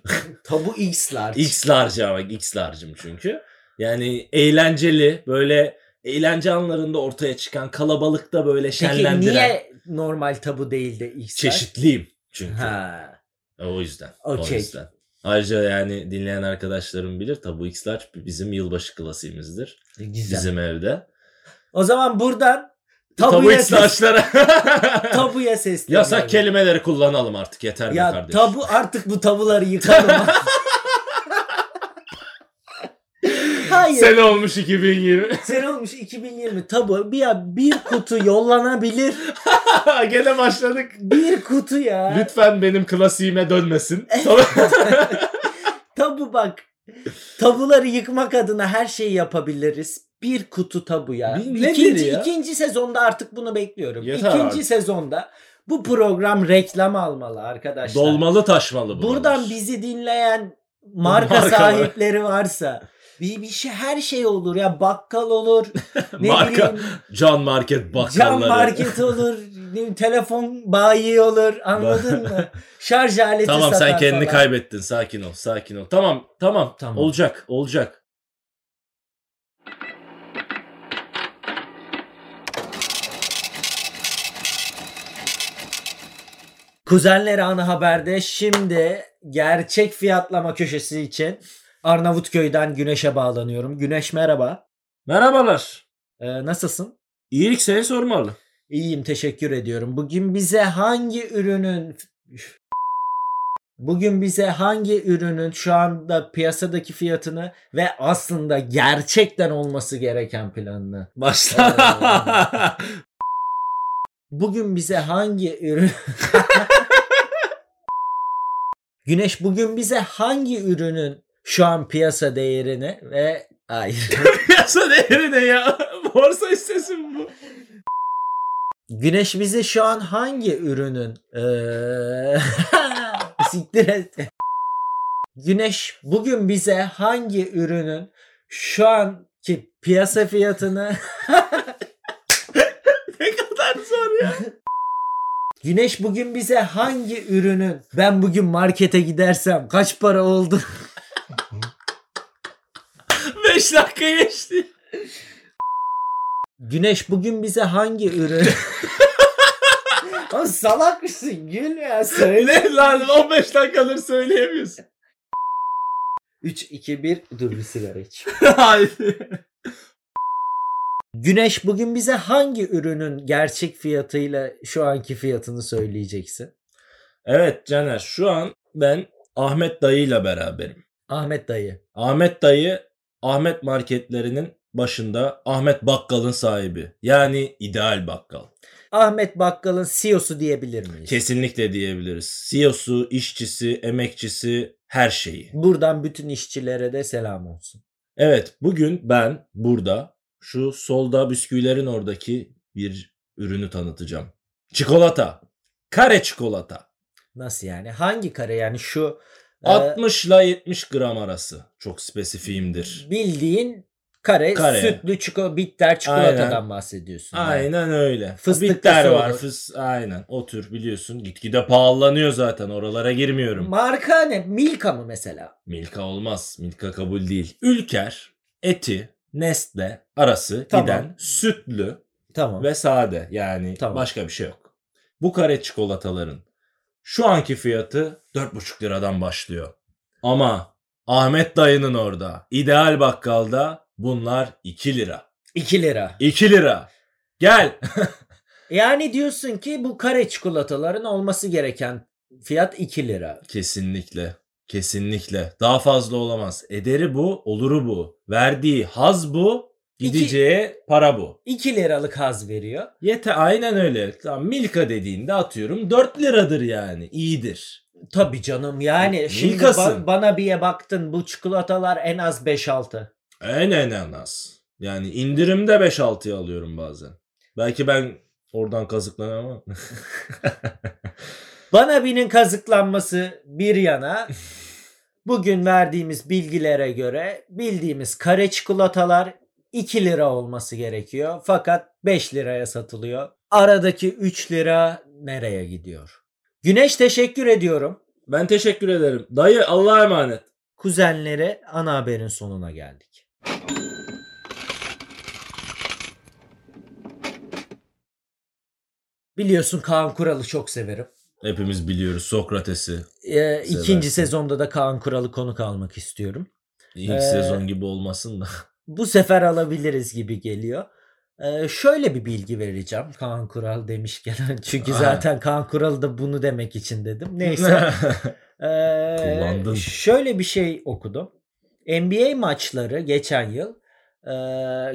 [SPEAKER 1] Tabu X'lar.
[SPEAKER 2] X large ama X large'ım çünkü. Yani eğlenceli böyle eğlence anlarında ortaya çıkan kalabalıkta böyle
[SPEAKER 1] Peki
[SPEAKER 2] şenlendiren.
[SPEAKER 1] niye normal tabu değil de X'ler?
[SPEAKER 2] Çeşitliyim çünkü.
[SPEAKER 1] Ha.
[SPEAKER 2] E, O yüzden. O
[SPEAKER 1] Okey.
[SPEAKER 2] yüzden. Ayrıca yani dinleyen arkadaşlarım bilir tabu X large bizim yılbaşı klasiğimizdir.
[SPEAKER 1] Güzel.
[SPEAKER 2] Bizim evde.
[SPEAKER 1] O zaman buradan
[SPEAKER 2] Tabu
[SPEAKER 1] tabuya,
[SPEAKER 2] X
[SPEAKER 1] ses,
[SPEAKER 2] large'lara.
[SPEAKER 1] tabuya sesleniyorum.
[SPEAKER 2] Yasak kelimeleri kullanalım artık yeter mi
[SPEAKER 1] Ya
[SPEAKER 2] kardeşim?
[SPEAKER 1] tabu artık bu tabuları yıkalım. Hayır.
[SPEAKER 2] Sen olmuş 2020.
[SPEAKER 1] Sen olmuş 2020 tabu. Bir, ya bir kutu yollanabilir.
[SPEAKER 2] Gene başladık.
[SPEAKER 1] Bir kutu ya.
[SPEAKER 2] Lütfen benim klasiğime dönmesin.
[SPEAKER 1] Tabu bak. Tabuları yıkmak adına her şeyi yapabiliriz. Bir kutu tabu ya.
[SPEAKER 2] Bir- nedir
[SPEAKER 1] ikinci,
[SPEAKER 2] ya?
[SPEAKER 1] ikinci sezonda artık bunu bekliyorum.
[SPEAKER 2] Yeter
[SPEAKER 1] ikinci
[SPEAKER 2] artık.
[SPEAKER 1] sezonda bu program reklam almalı arkadaşlar.
[SPEAKER 2] Dolmalı taşmalı bu.
[SPEAKER 1] Buradan bizi dinleyen marka
[SPEAKER 2] Markalar.
[SPEAKER 1] sahipleri varsa bir, bir şey her şey olur ya bakkal olur ne
[SPEAKER 2] Marka,
[SPEAKER 1] bileyim
[SPEAKER 2] can market bakkalları.
[SPEAKER 1] cam market olur ne bileyim, telefon bayi olur anladın mı şarj aleti
[SPEAKER 2] Tamam
[SPEAKER 1] satar
[SPEAKER 2] sen kendini
[SPEAKER 1] falan.
[SPEAKER 2] kaybettin. Sakin ol. Sakin ol. Tamam. Tamam.
[SPEAKER 1] Tamam.
[SPEAKER 2] Olacak. Olacak.
[SPEAKER 1] Kuzenler Anı Haber'de şimdi gerçek fiyatlama köşesi için Arnavutköy'den Güneş'e bağlanıyorum. Güneş merhaba.
[SPEAKER 2] Merhabalar.
[SPEAKER 1] Ee, nasılsın?
[SPEAKER 2] İyilik seni sormalı.
[SPEAKER 1] İyiyim teşekkür ediyorum. Bugün bize hangi ürünün Bugün bize hangi ürünün şu anda piyasadaki fiyatını ve aslında gerçekten olması gereken planını.
[SPEAKER 2] Başla.
[SPEAKER 1] Bugün bize hangi ürün Güneş bugün bize hangi ürünün şu an piyasa değerini ve hayır.
[SPEAKER 2] Piyasa değeri ne ya? Borsa hissesi mi bu?
[SPEAKER 1] Güneş bize şu an hangi ürünün eee, siktir et. Güneş bugün bize hangi ürünün şu anki piyasa fiyatını
[SPEAKER 2] Ne kadar zor ya.
[SPEAKER 1] Güneş bugün bize hangi ürünün ben bugün markete gidersem kaç para oldu
[SPEAKER 2] 5 dakika geçti.
[SPEAKER 1] Güneş bugün bize hangi ürün? Oğlum salak mısın? Gülme ya söyle.
[SPEAKER 2] Ne lan 15 dakikadır söyleyemiyorsun.
[SPEAKER 1] 3, 2, 1. Dur bir sigara iç.
[SPEAKER 2] Hayır.
[SPEAKER 1] Güneş bugün bize hangi ürünün gerçek fiyatıyla şu anki fiyatını söyleyeceksin?
[SPEAKER 2] Evet Caner şu an ben Ahmet dayıyla beraberim.
[SPEAKER 1] Ahmet dayı.
[SPEAKER 2] Ahmet dayı Ahmet marketlerinin başında Ahmet Bakkal'ın sahibi. Yani ideal bakkal.
[SPEAKER 1] Ahmet Bakkal'ın CEO'su diyebilir miyiz?
[SPEAKER 2] Kesinlikle diyebiliriz. CEO'su, işçisi, emekçisi her şeyi.
[SPEAKER 1] Buradan bütün işçilere de selam olsun.
[SPEAKER 2] Evet bugün ben burada şu solda bisküvilerin oradaki bir ürünü tanıtacağım. Çikolata. Kare çikolata.
[SPEAKER 1] Nasıl yani? Hangi kare yani şu e,
[SPEAKER 2] 60 ile 70 gram arası. Çok spesifiğimdir.
[SPEAKER 1] bildiğin kare,
[SPEAKER 2] Kare.
[SPEAKER 1] sütlü çiko, bitter çikolatadan
[SPEAKER 2] Aynen.
[SPEAKER 1] bahsediyorsun. yani.
[SPEAKER 2] Aynen öyle.
[SPEAKER 1] Fıstıklısı
[SPEAKER 2] Bitter var.
[SPEAKER 1] olur.
[SPEAKER 2] Fıs aynen. O tür biliyorsun. Gitgide pahalanıyor zaten. Oralara girmiyorum.
[SPEAKER 1] Marka ne? Milka mı mesela?
[SPEAKER 2] Milka olmaz. Milka kabul değil. Ülker, Eti, Nestle arası
[SPEAKER 1] Tamam.
[SPEAKER 2] giden sütlü
[SPEAKER 1] Tamam.
[SPEAKER 2] ve sade. Yani
[SPEAKER 1] Tamam.
[SPEAKER 2] başka bir şey yok. Bu kare çikolataların şu anki fiyatı 4,5 liradan başlıyor. Ama Ahmet dayının orada ideal bakkalda bunlar 2 lira.
[SPEAKER 1] 2 lira.
[SPEAKER 2] 2 lira. Gel.
[SPEAKER 1] Yani diyorsun ki bu kare çikolataların olması gereken fiyat 2 lira.
[SPEAKER 2] Kesinlikle. Kesinlikle. Daha fazla olamaz. Ederi bu, oluru bu. Verdiği haz bu, gideceği para bu.
[SPEAKER 1] 2 liralık haz veriyor.
[SPEAKER 2] Yete aynen öyle. Tamam, Milka dediğinde atıyorum 4 liradır yani. İyidir.
[SPEAKER 1] Tabii canım yani şimdi
[SPEAKER 2] Milkasın.
[SPEAKER 1] ba- bana bir ye baktın bu çikolatalar en az 5-6.
[SPEAKER 2] En en az. Yani indirimde 5-6'ya alıyorum bazen. Belki ben oradan kazıklanamam.
[SPEAKER 1] Bana birinin kazıklanması bir yana bugün verdiğimiz bilgilere göre bildiğimiz kare çikolatalar 2 lira olması gerekiyor. Fakat 5 liraya satılıyor. Aradaki 3 lira nereye gidiyor? Güneş teşekkür ediyorum.
[SPEAKER 2] ben teşekkür ederim. Dayı Allah'a emanet.
[SPEAKER 1] Kuzenlere ana haberin sonuna geldik. Biliyorsun Kaan Kural'ı çok severim.
[SPEAKER 2] Hepimiz biliyoruz Sokrates'i.
[SPEAKER 1] Ee,
[SPEAKER 2] Seversin.
[SPEAKER 1] ikinci sezonda da Kaan Kural'ı konuk almak istiyorum.
[SPEAKER 2] İlk
[SPEAKER 1] Ee,
[SPEAKER 2] sezon gibi olmasın da.
[SPEAKER 1] Bu sefer alabiliriz gibi geliyor. Ee, şöyle bir bilgi vereceğim Kaan Kural demişken. Çünkü
[SPEAKER 2] Ha.
[SPEAKER 1] zaten Kaan Kural da bunu demek için dedim. Neyse. Ee,
[SPEAKER 2] Kullandın.
[SPEAKER 1] Şöyle bir şey okudum. NBA maçları geçen yıl e,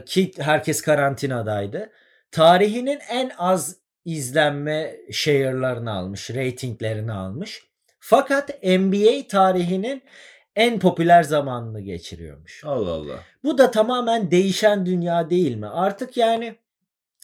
[SPEAKER 1] ki herkes karantinadaydı. Tarihinin en az izlenme share'larını almış, reytinglerini almış. Fakat NBA tarihinin en popüler zamanını geçiriyormuş.
[SPEAKER 2] Allah Allah.
[SPEAKER 1] Bu da tamamen değişen dünya değil mi? Artık yani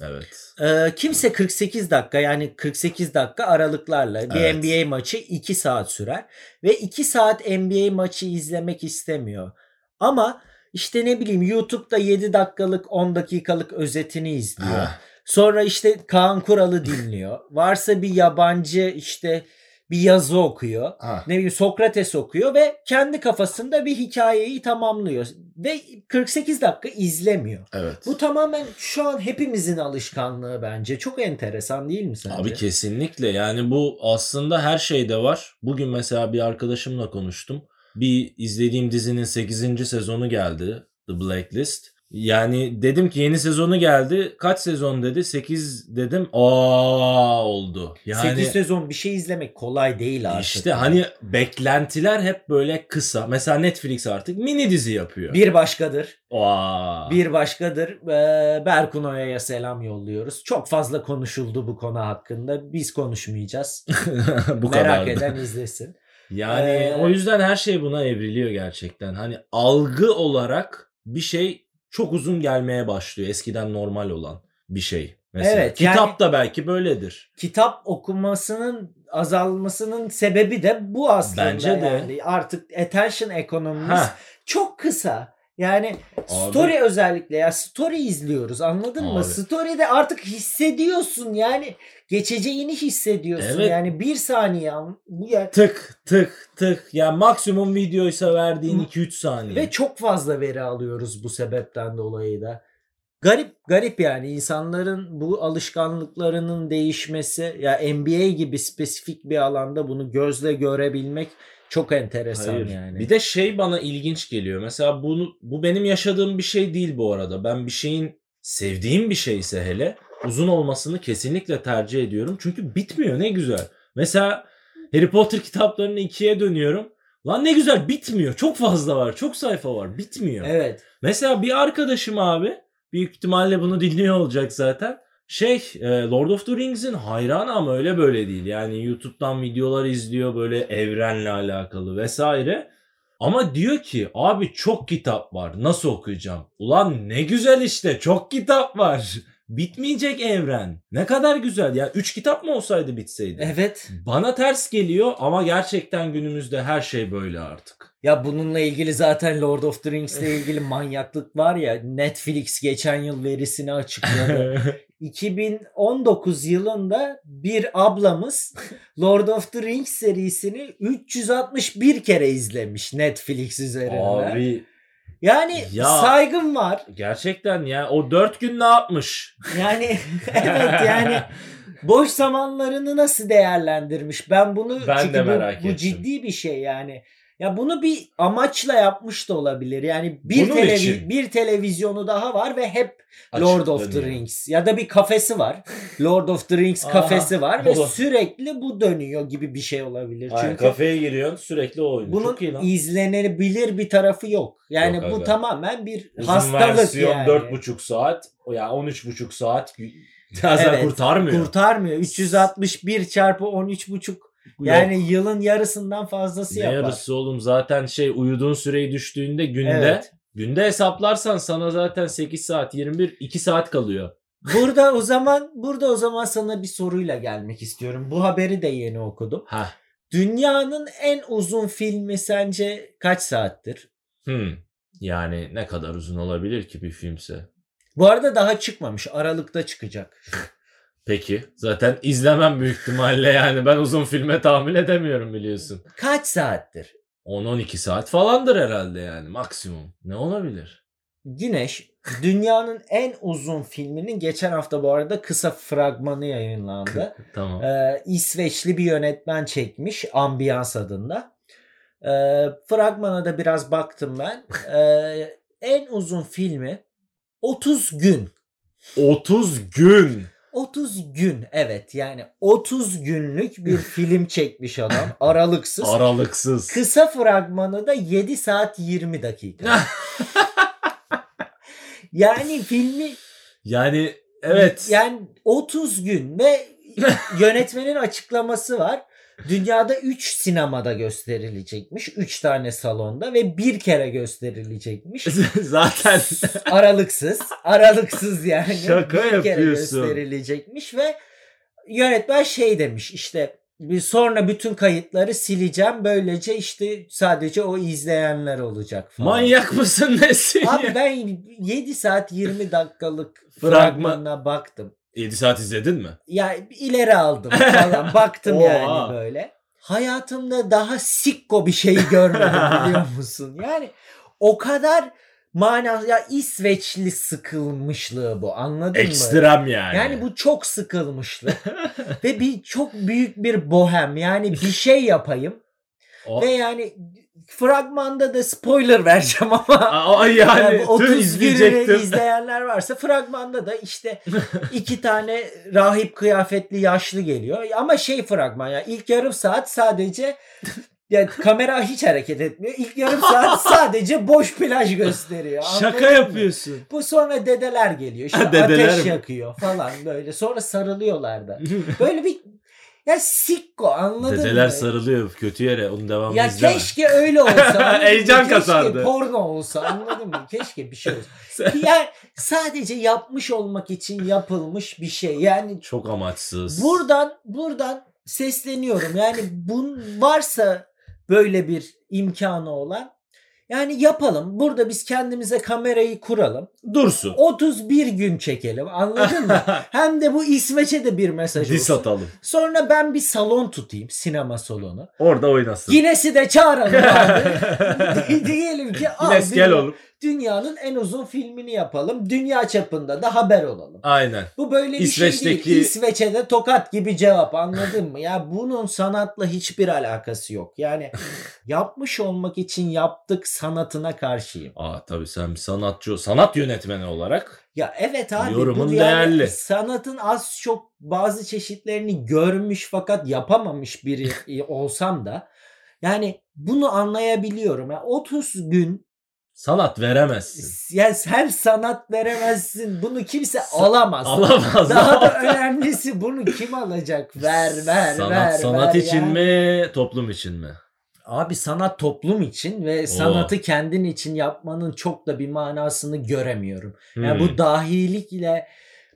[SPEAKER 2] Evet.
[SPEAKER 1] ee, kimse 48 dakika yani 48 dakika aralıklarla bir
[SPEAKER 2] Evet.
[SPEAKER 1] NBA maçı 2 saat sürer ve 2 saat NBA maçı izlemek istemiyor. Ama işte ne bileyim YouTube'da 7 dakikalık 10 dakikalık özetini izliyor.
[SPEAKER 2] Ah,
[SPEAKER 1] Sonra işte Kaan Kural'ı dinliyor. Varsa bir yabancı işte bir yazı okuyor.
[SPEAKER 2] ah.
[SPEAKER 1] Ne bileyim Sokrates okuyor ve kendi kafasında bir hikayeyi tamamlıyor. Ve 48 dakika izlemiyor.
[SPEAKER 2] Evet.
[SPEAKER 1] Bu tamamen şu an hepimizin alışkanlığı bence. Çok enteresan değil mi sence?
[SPEAKER 2] Abi kesinlikle yani bu aslında her şeyde var. Bugün mesela bir arkadaşımla konuştum. Bir izlediğim dizinin 8. sezonu geldi. The Blacklist. Yani dedim ki yeni sezonu geldi. Kaç sezon dedi? 8 dedim. Aa oldu. Yani
[SPEAKER 1] 8 sezon bir şey izlemek kolay değil artık.
[SPEAKER 2] işte hani beklentiler hep böyle kısa. Mesela Netflix artık mini dizi yapıyor.
[SPEAKER 1] bir başkadır.
[SPEAKER 2] Aa.
[SPEAKER 1] Bir başkadır. Ee, Berkun Oya'ya selam yolluyoruz. Çok fazla konuşuldu bu konu hakkında. Biz konuşmayacağız.
[SPEAKER 2] bu
[SPEAKER 1] Merak
[SPEAKER 2] kadar.
[SPEAKER 1] eden izlesin.
[SPEAKER 2] Yani
[SPEAKER 1] Ee,
[SPEAKER 2] o yüzden her şey buna evriliyor gerçekten. Hani algı olarak bir şey çok uzun gelmeye başlıyor. Eskiden normal olan bir şey. Mesela
[SPEAKER 1] Evet, yani-
[SPEAKER 2] kitap da belki böyledir.
[SPEAKER 1] Kitap okumasının azalmasının sebebi de bu aslında.
[SPEAKER 2] Bence de.
[SPEAKER 1] yani. Artık attention ekonomimiz
[SPEAKER 2] Ha,
[SPEAKER 1] çok kısa. Yani
[SPEAKER 2] Abi.
[SPEAKER 1] story özellikle ya story izliyoruz anladın mı?
[SPEAKER 2] Abi.
[SPEAKER 1] Story'de artık hissediyorsun yani geçeceğini hissediyorsun.
[SPEAKER 2] Evet.
[SPEAKER 1] Yani bir saniye an- bu ya
[SPEAKER 2] tık tık tık. Yani maksimum videoysa verdiğin
[SPEAKER 1] Hı.
[SPEAKER 2] 2-3 saniye.
[SPEAKER 1] ve çok fazla veri alıyoruz bu sebepten dolayı da. Garip garip yani insanların bu alışkanlıklarının değişmesi ya NBA gibi spesifik bir alanda bunu gözle görebilmek çok enteresan
[SPEAKER 2] Hayır.
[SPEAKER 1] yani.
[SPEAKER 2] Bir de şey bana ilginç geliyor. Mesela bunu bu benim yaşadığım bir şey değil bu arada. Ben bir şeyin sevdiğim bir şeyse hele uzun olmasını kesinlikle tercih ediyorum. Çünkü bitmiyor ne güzel. Mesela Harry Potter kitaplarını ikiye dönüyorum. Lan ne güzel bitmiyor. Çok fazla var. Çok sayfa var. Bitmiyor.
[SPEAKER 1] evet.
[SPEAKER 2] Mesela bir arkadaşım abi büyük ihtimalle bunu dinliyor olacak zaten. Şey e, Lord of the Rings'in hayranı ama öyle böyle değil. Yani YouTube'dan videolar izliyor böyle evrenle alakalı vesaire. Ama diyor ki abi çok kitap var nasıl okuyacağım? Ulan ne güzel işte çok kitap var. Bitmeyecek evren. Ne kadar güzel. Ya 3 kitap mı olsaydı bitseydi?
[SPEAKER 1] Evet.
[SPEAKER 2] Bana ters geliyor ama gerçekten günümüzde her şey böyle artık.
[SPEAKER 1] Ya bununla ilgili zaten Lord of the Rings'le ilgili manyaklık var ya Netflix geçen yıl verisini açıkladı. 2019 yılında bir ablamız Lord of the Rings serisini 361 kere izlemiş Netflix üzerinden.
[SPEAKER 2] Abi
[SPEAKER 1] yani
[SPEAKER 2] Ya.
[SPEAKER 1] saygım var.
[SPEAKER 2] Gerçekten ya o dört gün ne yapmış?
[SPEAKER 1] Yani evet yani boş zamanlarını nasıl değerlendirmiş? Ben bunu
[SPEAKER 2] Ben
[SPEAKER 1] çünkü
[SPEAKER 2] de
[SPEAKER 1] bu-
[SPEAKER 2] merak
[SPEAKER 1] bu,
[SPEAKER 2] ettim.
[SPEAKER 1] ciddi bir şey yani. Ya bunu bir amaçla yapmış da olabilir. Yani bir
[SPEAKER 2] Bunun
[SPEAKER 1] televi-
[SPEAKER 2] için.
[SPEAKER 1] bir televizyonu daha var ve hep Lord of the
[SPEAKER 2] Açıklanıyor.
[SPEAKER 1] Rings ya da bir kafesi var. Lord of the Rings
[SPEAKER 2] Aha,
[SPEAKER 1] kafesi var ve
[SPEAKER 2] olur.
[SPEAKER 1] sürekli bu dönüyor gibi bir şey olabilir.
[SPEAKER 2] Aynen,
[SPEAKER 1] Çünkü
[SPEAKER 2] kafeye giriyorsun sürekli o oyun.
[SPEAKER 1] bunun
[SPEAKER 2] Çok iyi lan.
[SPEAKER 1] izlenebilir bir tarafı yok. Yani
[SPEAKER 2] Yok
[SPEAKER 1] bu
[SPEAKER 2] abi.
[SPEAKER 1] tamamen bir
[SPEAKER 2] Uzun
[SPEAKER 1] hastalık
[SPEAKER 2] versiyon
[SPEAKER 1] yani.
[SPEAKER 2] dört buçuk saat. O ya 13 buçuk saat. Bazen
[SPEAKER 1] Evet,
[SPEAKER 2] kurtarmıyor.
[SPEAKER 1] Kurtarmıyor. 361 çarpı 13 buçuk yani yılın yarısından fazlası
[SPEAKER 2] ne
[SPEAKER 1] yapar.
[SPEAKER 2] yarısı oğlum zaten şey uyuduğun süreyi düştüğünde günde
[SPEAKER 1] Evet.
[SPEAKER 2] günde hesaplarsan sana zaten 8 saat 21 2 saat kalıyor.
[SPEAKER 1] Burada o zaman burada o zaman sana bir soruyla gelmek istiyorum. Bu haberi de yeni okudum.
[SPEAKER 2] Ha.
[SPEAKER 1] Dünyanın en uzun filmi sence kaç saattir?
[SPEAKER 2] Hmm. Yani ne kadar uzun olabilir ki bir filmse?
[SPEAKER 1] Bu arada daha çıkmamış. Aralıkta çıkacak.
[SPEAKER 2] Peki. Zaten izlemem büyük ihtimalle yani. Ben uzun filme tahammül edemiyorum biliyorsun.
[SPEAKER 1] Kaç saattir?
[SPEAKER 2] 10-12 saat falandır herhalde yani maksimum. Ne olabilir?
[SPEAKER 1] Güneş dünyanın en uzun filminin geçen hafta bu arada kısa fragmanı yayınlandı.
[SPEAKER 2] Tamam.
[SPEAKER 1] Ee, İsveçli bir yönetmen çekmiş Ambiyans adında. Ee, fragmana da biraz baktım ben. Ee, en uzun filmi 30 gün.
[SPEAKER 2] 30 gün.
[SPEAKER 1] 30 gün evet yani 30 günlük bir film çekmiş adam aralıksız.
[SPEAKER 2] Aralıksız.
[SPEAKER 1] Kısa fragmanı da 7 saat 20 dakika. yani filmi
[SPEAKER 2] Yani evet.
[SPEAKER 1] yani 30 gün ve yönetmenin açıklaması var. Dünyada 3 sinemada gösterilecekmiş. 3 tane salonda ve bir kere gösterilecekmiş.
[SPEAKER 2] Zaten
[SPEAKER 1] aralıksız. Aralıksız yani.
[SPEAKER 2] Şaka
[SPEAKER 1] bir kere
[SPEAKER 2] yapıyorsun.
[SPEAKER 1] gösterilecekmiş ve yönetmen şey demiş işte bir sonra bütün kayıtları sileceğim. Böylece işte sadece o izleyenler olacak falan.
[SPEAKER 2] manyak mısın nesin?
[SPEAKER 1] Abi ben 7 saat 20 dakikalık
[SPEAKER 2] Fragman-
[SPEAKER 1] fragmanına baktım.
[SPEAKER 2] 7 saat izledin mi?
[SPEAKER 1] Ya ileri aldım falan. Baktım
[SPEAKER 2] Oha.
[SPEAKER 1] yani böyle. Hayatımda daha sikko bir şey görmedim biliyor musun? Yani o kadar manası ya İsveçli sıkılmışlığı bu anladın mı?
[SPEAKER 2] Ekstrem yani.
[SPEAKER 1] Yani bu çok sıkılmışlık ve bir çok büyük bir bohem yani bir şey yapayım
[SPEAKER 2] O-
[SPEAKER 1] ve yani fragmanda da spoiler vereceğim ama
[SPEAKER 2] Aa, yani,
[SPEAKER 1] yani bu 30
[SPEAKER 2] tüm
[SPEAKER 1] gününü
[SPEAKER 2] izleyecektim.
[SPEAKER 1] izleyenler varsa fragmanda da işte iki tane rahip kıyafetli yaşlı geliyor. Ama şey fragman ya ilk yarım saat sadece yani kamera hiç hareket etmiyor. İlk yarım saat sadece boş plaj gösteriyor. Anladın
[SPEAKER 2] Şaka
[SPEAKER 1] mı?
[SPEAKER 2] yapıyorsun.
[SPEAKER 1] Bu sonra dedeler geliyor. İşte
[SPEAKER 2] Dedeler
[SPEAKER 1] ateş
[SPEAKER 2] mi?
[SPEAKER 1] yakıyor falan böyle. Sonra sarılıyorlar da. Böyle bir ya sikko anladın
[SPEAKER 2] Dedeler
[SPEAKER 1] mı?
[SPEAKER 2] sarılıyor kötü yere. Onun devamını
[SPEAKER 1] Ya
[SPEAKER 2] izleme.
[SPEAKER 1] keşke öyle olsa. anladın mı?
[SPEAKER 2] Heyecan
[SPEAKER 1] keşke
[SPEAKER 2] kasardı.
[SPEAKER 1] porno olsa anladın mı? Keşke bir şey olsa.
[SPEAKER 2] Sen-
[SPEAKER 1] Yani sadece yapmış olmak için yapılmış bir şey. Yani
[SPEAKER 2] Çok amaçsız.
[SPEAKER 1] buradan buradan sesleniyorum. Yani bun varsa böyle bir imkanı olan yani yapalım. Burada biz kendimize kamerayı kuralım.
[SPEAKER 2] Dursun.
[SPEAKER 1] 31 gün çekelim. Anladın mı? Hem de bu İsveç'e de bir mesaj
[SPEAKER 2] Dis
[SPEAKER 1] olsun.
[SPEAKER 2] atalım.
[SPEAKER 1] Sonra ben bir salon tutayım. Sinema salonu.
[SPEAKER 2] Orada oynasın.
[SPEAKER 1] Yinesi de çağıralım abi. Diyelim ki abi
[SPEAKER 2] Yines gel oğlum.
[SPEAKER 1] dünyanın en uzun filmini yapalım. Dünya çapında da haber olalım.
[SPEAKER 2] Aynen.
[SPEAKER 1] Bu böyle bir şey
[SPEAKER 2] İsveç'teki-
[SPEAKER 1] değil. İsveç'e de tokat gibi cevap anladın mı? Ya bunun sanatla hiçbir alakası yok. Yani yapmış olmak için yaptık sanatına karşıyım.
[SPEAKER 2] Aa tabii sen bir sanatçı, sanat yönetmeni olarak
[SPEAKER 1] Ya evet abi
[SPEAKER 2] Yorumun
[SPEAKER 1] bu yani
[SPEAKER 2] değerli.
[SPEAKER 1] sanatın az çok bazı çeşitlerini görmüş fakat yapamamış biri e, olsam da yani bunu anlayabiliyorum. Yani 30 gün
[SPEAKER 2] sanat veremezsin.
[SPEAKER 1] yani sen sanat veremezsin. Bunu kimse
[SPEAKER 2] Sa-
[SPEAKER 1] alamaz.
[SPEAKER 2] Alamaz.
[SPEAKER 1] Daha da önemlisi bunu kim alacak? Ver ver
[SPEAKER 2] sanat,
[SPEAKER 1] ver.
[SPEAKER 2] Sanat
[SPEAKER 1] ver
[SPEAKER 2] için
[SPEAKER 1] ya.
[SPEAKER 2] mi, toplum için mi?
[SPEAKER 1] Abi sanat toplum için ve sanatı kendin için yapmanın çok da bir manasını göremiyorum. Yani
[SPEAKER 2] Hmm.
[SPEAKER 1] bu dahilik ile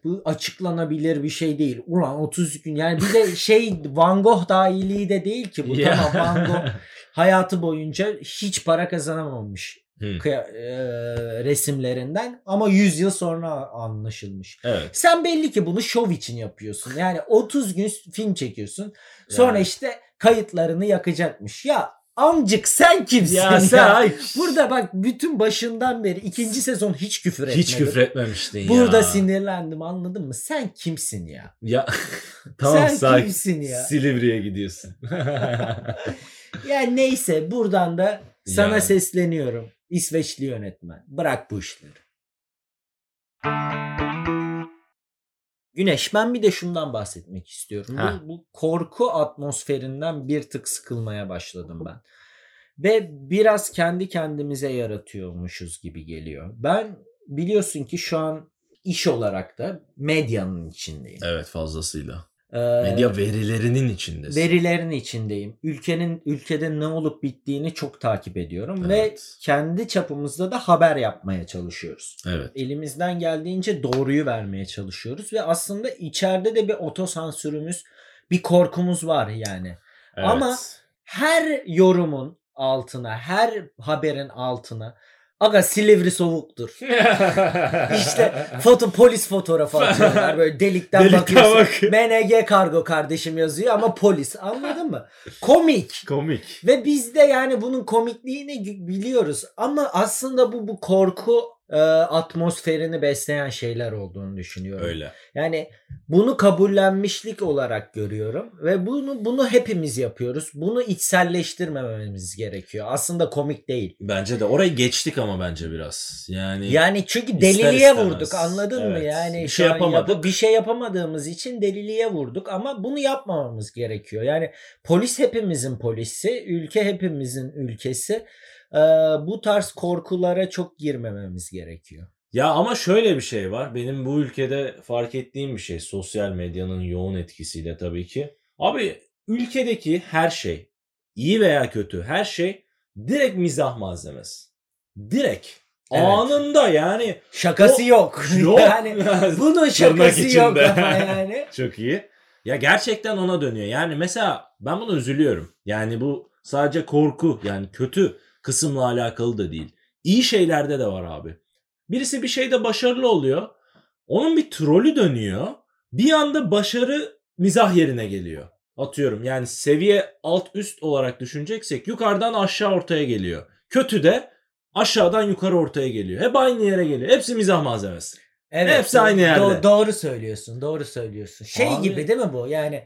[SPEAKER 1] bu açıklanabilir bir şey değil. Ulan 30 gün yani bir de şey Van Gogh dahiliği de değil ki bu.
[SPEAKER 2] Ya.
[SPEAKER 1] Tamam Van Gogh hayatı boyunca hiç para kazanamamış
[SPEAKER 2] Hmm.
[SPEAKER 1] kıya- eee, resimlerinden ama 100 yıl sonra anlaşılmış.
[SPEAKER 2] Evet.
[SPEAKER 1] Sen belli ki bunu şov için yapıyorsun. Yani 30 gün film çekiyorsun. Sonra
[SPEAKER 2] Yani.
[SPEAKER 1] işte kayıtlarını yakacakmış. Ya amcık sen kimsin
[SPEAKER 2] Ya
[SPEAKER 1] ya?
[SPEAKER 2] sen ay,
[SPEAKER 1] Burada bak bütün başından beri ikinci sezon hiç küfür etmedin.
[SPEAKER 2] hiç küfür etmemiştin ya.
[SPEAKER 1] Burada sinirlendim anladın mı? Sen kimsin ya?
[SPEAKER 2] Ya tamam
[SPEAKER 1] sen
[SPEAKER 2] sakin.
[SPEAKER 1] kimsin ya?
[SPEAKER 2] Silivri'ye gidiyorsun.
[SPEAKER 1] Ya neyse buradan da sana
[SPEAKER 2] Yani.
[SPEAKER 1] sesleniyorum. İsveçli yönetmen. Bırak bu işleri. Güneş ben bir de şundan bahsetmek istiyorum.
[SPEAKER 2] Heh.
[SPEAKER 1] Bu, bu korku atmosferinden bir tık sıkılmaya başladım ben. Ve biraz kendi kendimize yaratıyormuşuz gibi geliyor. Ben biliyorsun ki şu an iş olarak da medyanın içindeyim.
[SPEAKER 2] evet fazlasıyla.
[SPEAKER 1] Ee,
[SPEAKER 2] Medya verilerinin içindesin.
[SPEAKER 1] verilerin içindeyim. Ülkenin ülkede ne olup bittiğini çok takip ediyorum ve
[SPEAKER 2] Evet.
[SPEAKER 1] kendi çapımızda da haber yapmaya çalışıyoruz.
[SPEAKER 2] Evet.
[SPEAKER 1] Elimizden geldiğince doğruyu vermeye çalışıyoruz ve aslında içeride de bir otosansürümüz, bir korkumuz var yani.
[SPEAKER 2] evet.
[SPEAKER 1] Ama- Her yorumun altına, her haberin altına aga Silivri soğuktur. İşte foto polis fotoğrafı atıyorlar böyle delikten,
[SPEAKER 2] Delikten
[SPEAKER 1] bakıyorsun.
[SPEAKER 2] bak.
[SPEAKER 1] MNG kargo kardeşim yazıyor ama polis anladın mı? Komik.
[SPEAKER 2] Komik.
[SPEAKER 1] Ve biz de yani bunun komikliğini gü- biliyoruz ama aslında bu bu korku e, atmosferini besleyen şeyler olduğunu düşünüyorum.
[SPEAKER 2] Öyle.
[SPEAKER 1] Yani bunu kabullenmişlik olarak görüyorum ve bunu bunu hepimiz yapıyoruz. Bunu içselleştirmememiz gerekiyor. Aslında komik değil.
[SPEAKER 2] Bence de orayı geçtik ama bence biraz. Yani
[SPEAKER 1] Yani çünkü
[SPEAKER 2] İster
[SPEAKER 1] deliliğe
[SPEAKER 2] istemez.
[SPEAKER 1] vurduk anladın mı?
[SPEAKER 2] Evet.
[SPEAKER 1] Yani
[SPEAKER 2] Bir
[SPEAKER 1] şu
[SPEAKER 2] şey
[SPEAKER 1] an yap-
[SPEAKER 2] yapamadık.
[SPEAKER 1] bir şey yapamadığımız için deliliğe vurduk ama bunu yapmamamız gerekiyor. Yani polis hepimizin polisi, ülke hepimizin ülkesi. Ee, bu tarz korkulara çok girmememiz gerekiyor.
[SPEAKER 2] Ya ama şöyle bir şey var. Benim bu ülkede fark ettiğim bir şey. Sosyal medyanın yoğun etkisiyle tabii ki. Abi ülkedeki her şey iyi veya kötü her şey direkt mizah malzemesi. Direkt.
[SPEAKER 1] Evet.
[SPEAKER 2] Anında yani.
[SPEAKER 1] Şakası yok.
[SPEAKER 2] Yok.
[SPEAKER 1] yani bunun şakası yok
[SPEAKER 2] içinde.
[SPEAKER 1] ama yani.
[SPEAKER 2] Çok iyi. Ya gerçekten ona dönüyor. Yani mesela ben buna üzülüyorum. Yani bu sadece korku yani kötü kısımla alakalı da değil. İyi şeylerde de var abi. Birisi bir şeyde başarılı oluyor. Onun bir trolü dönüyor. Bir anda başarı mizah yerine geliyor. Atıyorum yani seviye alt üst olarak düşüneceksek yukarıdan aşağı ortaya geliyor. Kötü de aşağıdan yukarı ortaya geliyor. Hep aynı yere geliyor. Hepsi mizah malzemesi.
[SPEAKER 1] Evet.
[SPEAKER 2] Hepsi aynı
[SPEAKER 1] do-
[SPEAKER 2] yerde.
[SPEAKER 1] doğru söylüyorsun. Doğru söylüyorsun. Şey
[SPEAKER 2] Abi.
[SPEAKER 1] gibi değil mi bu? Yani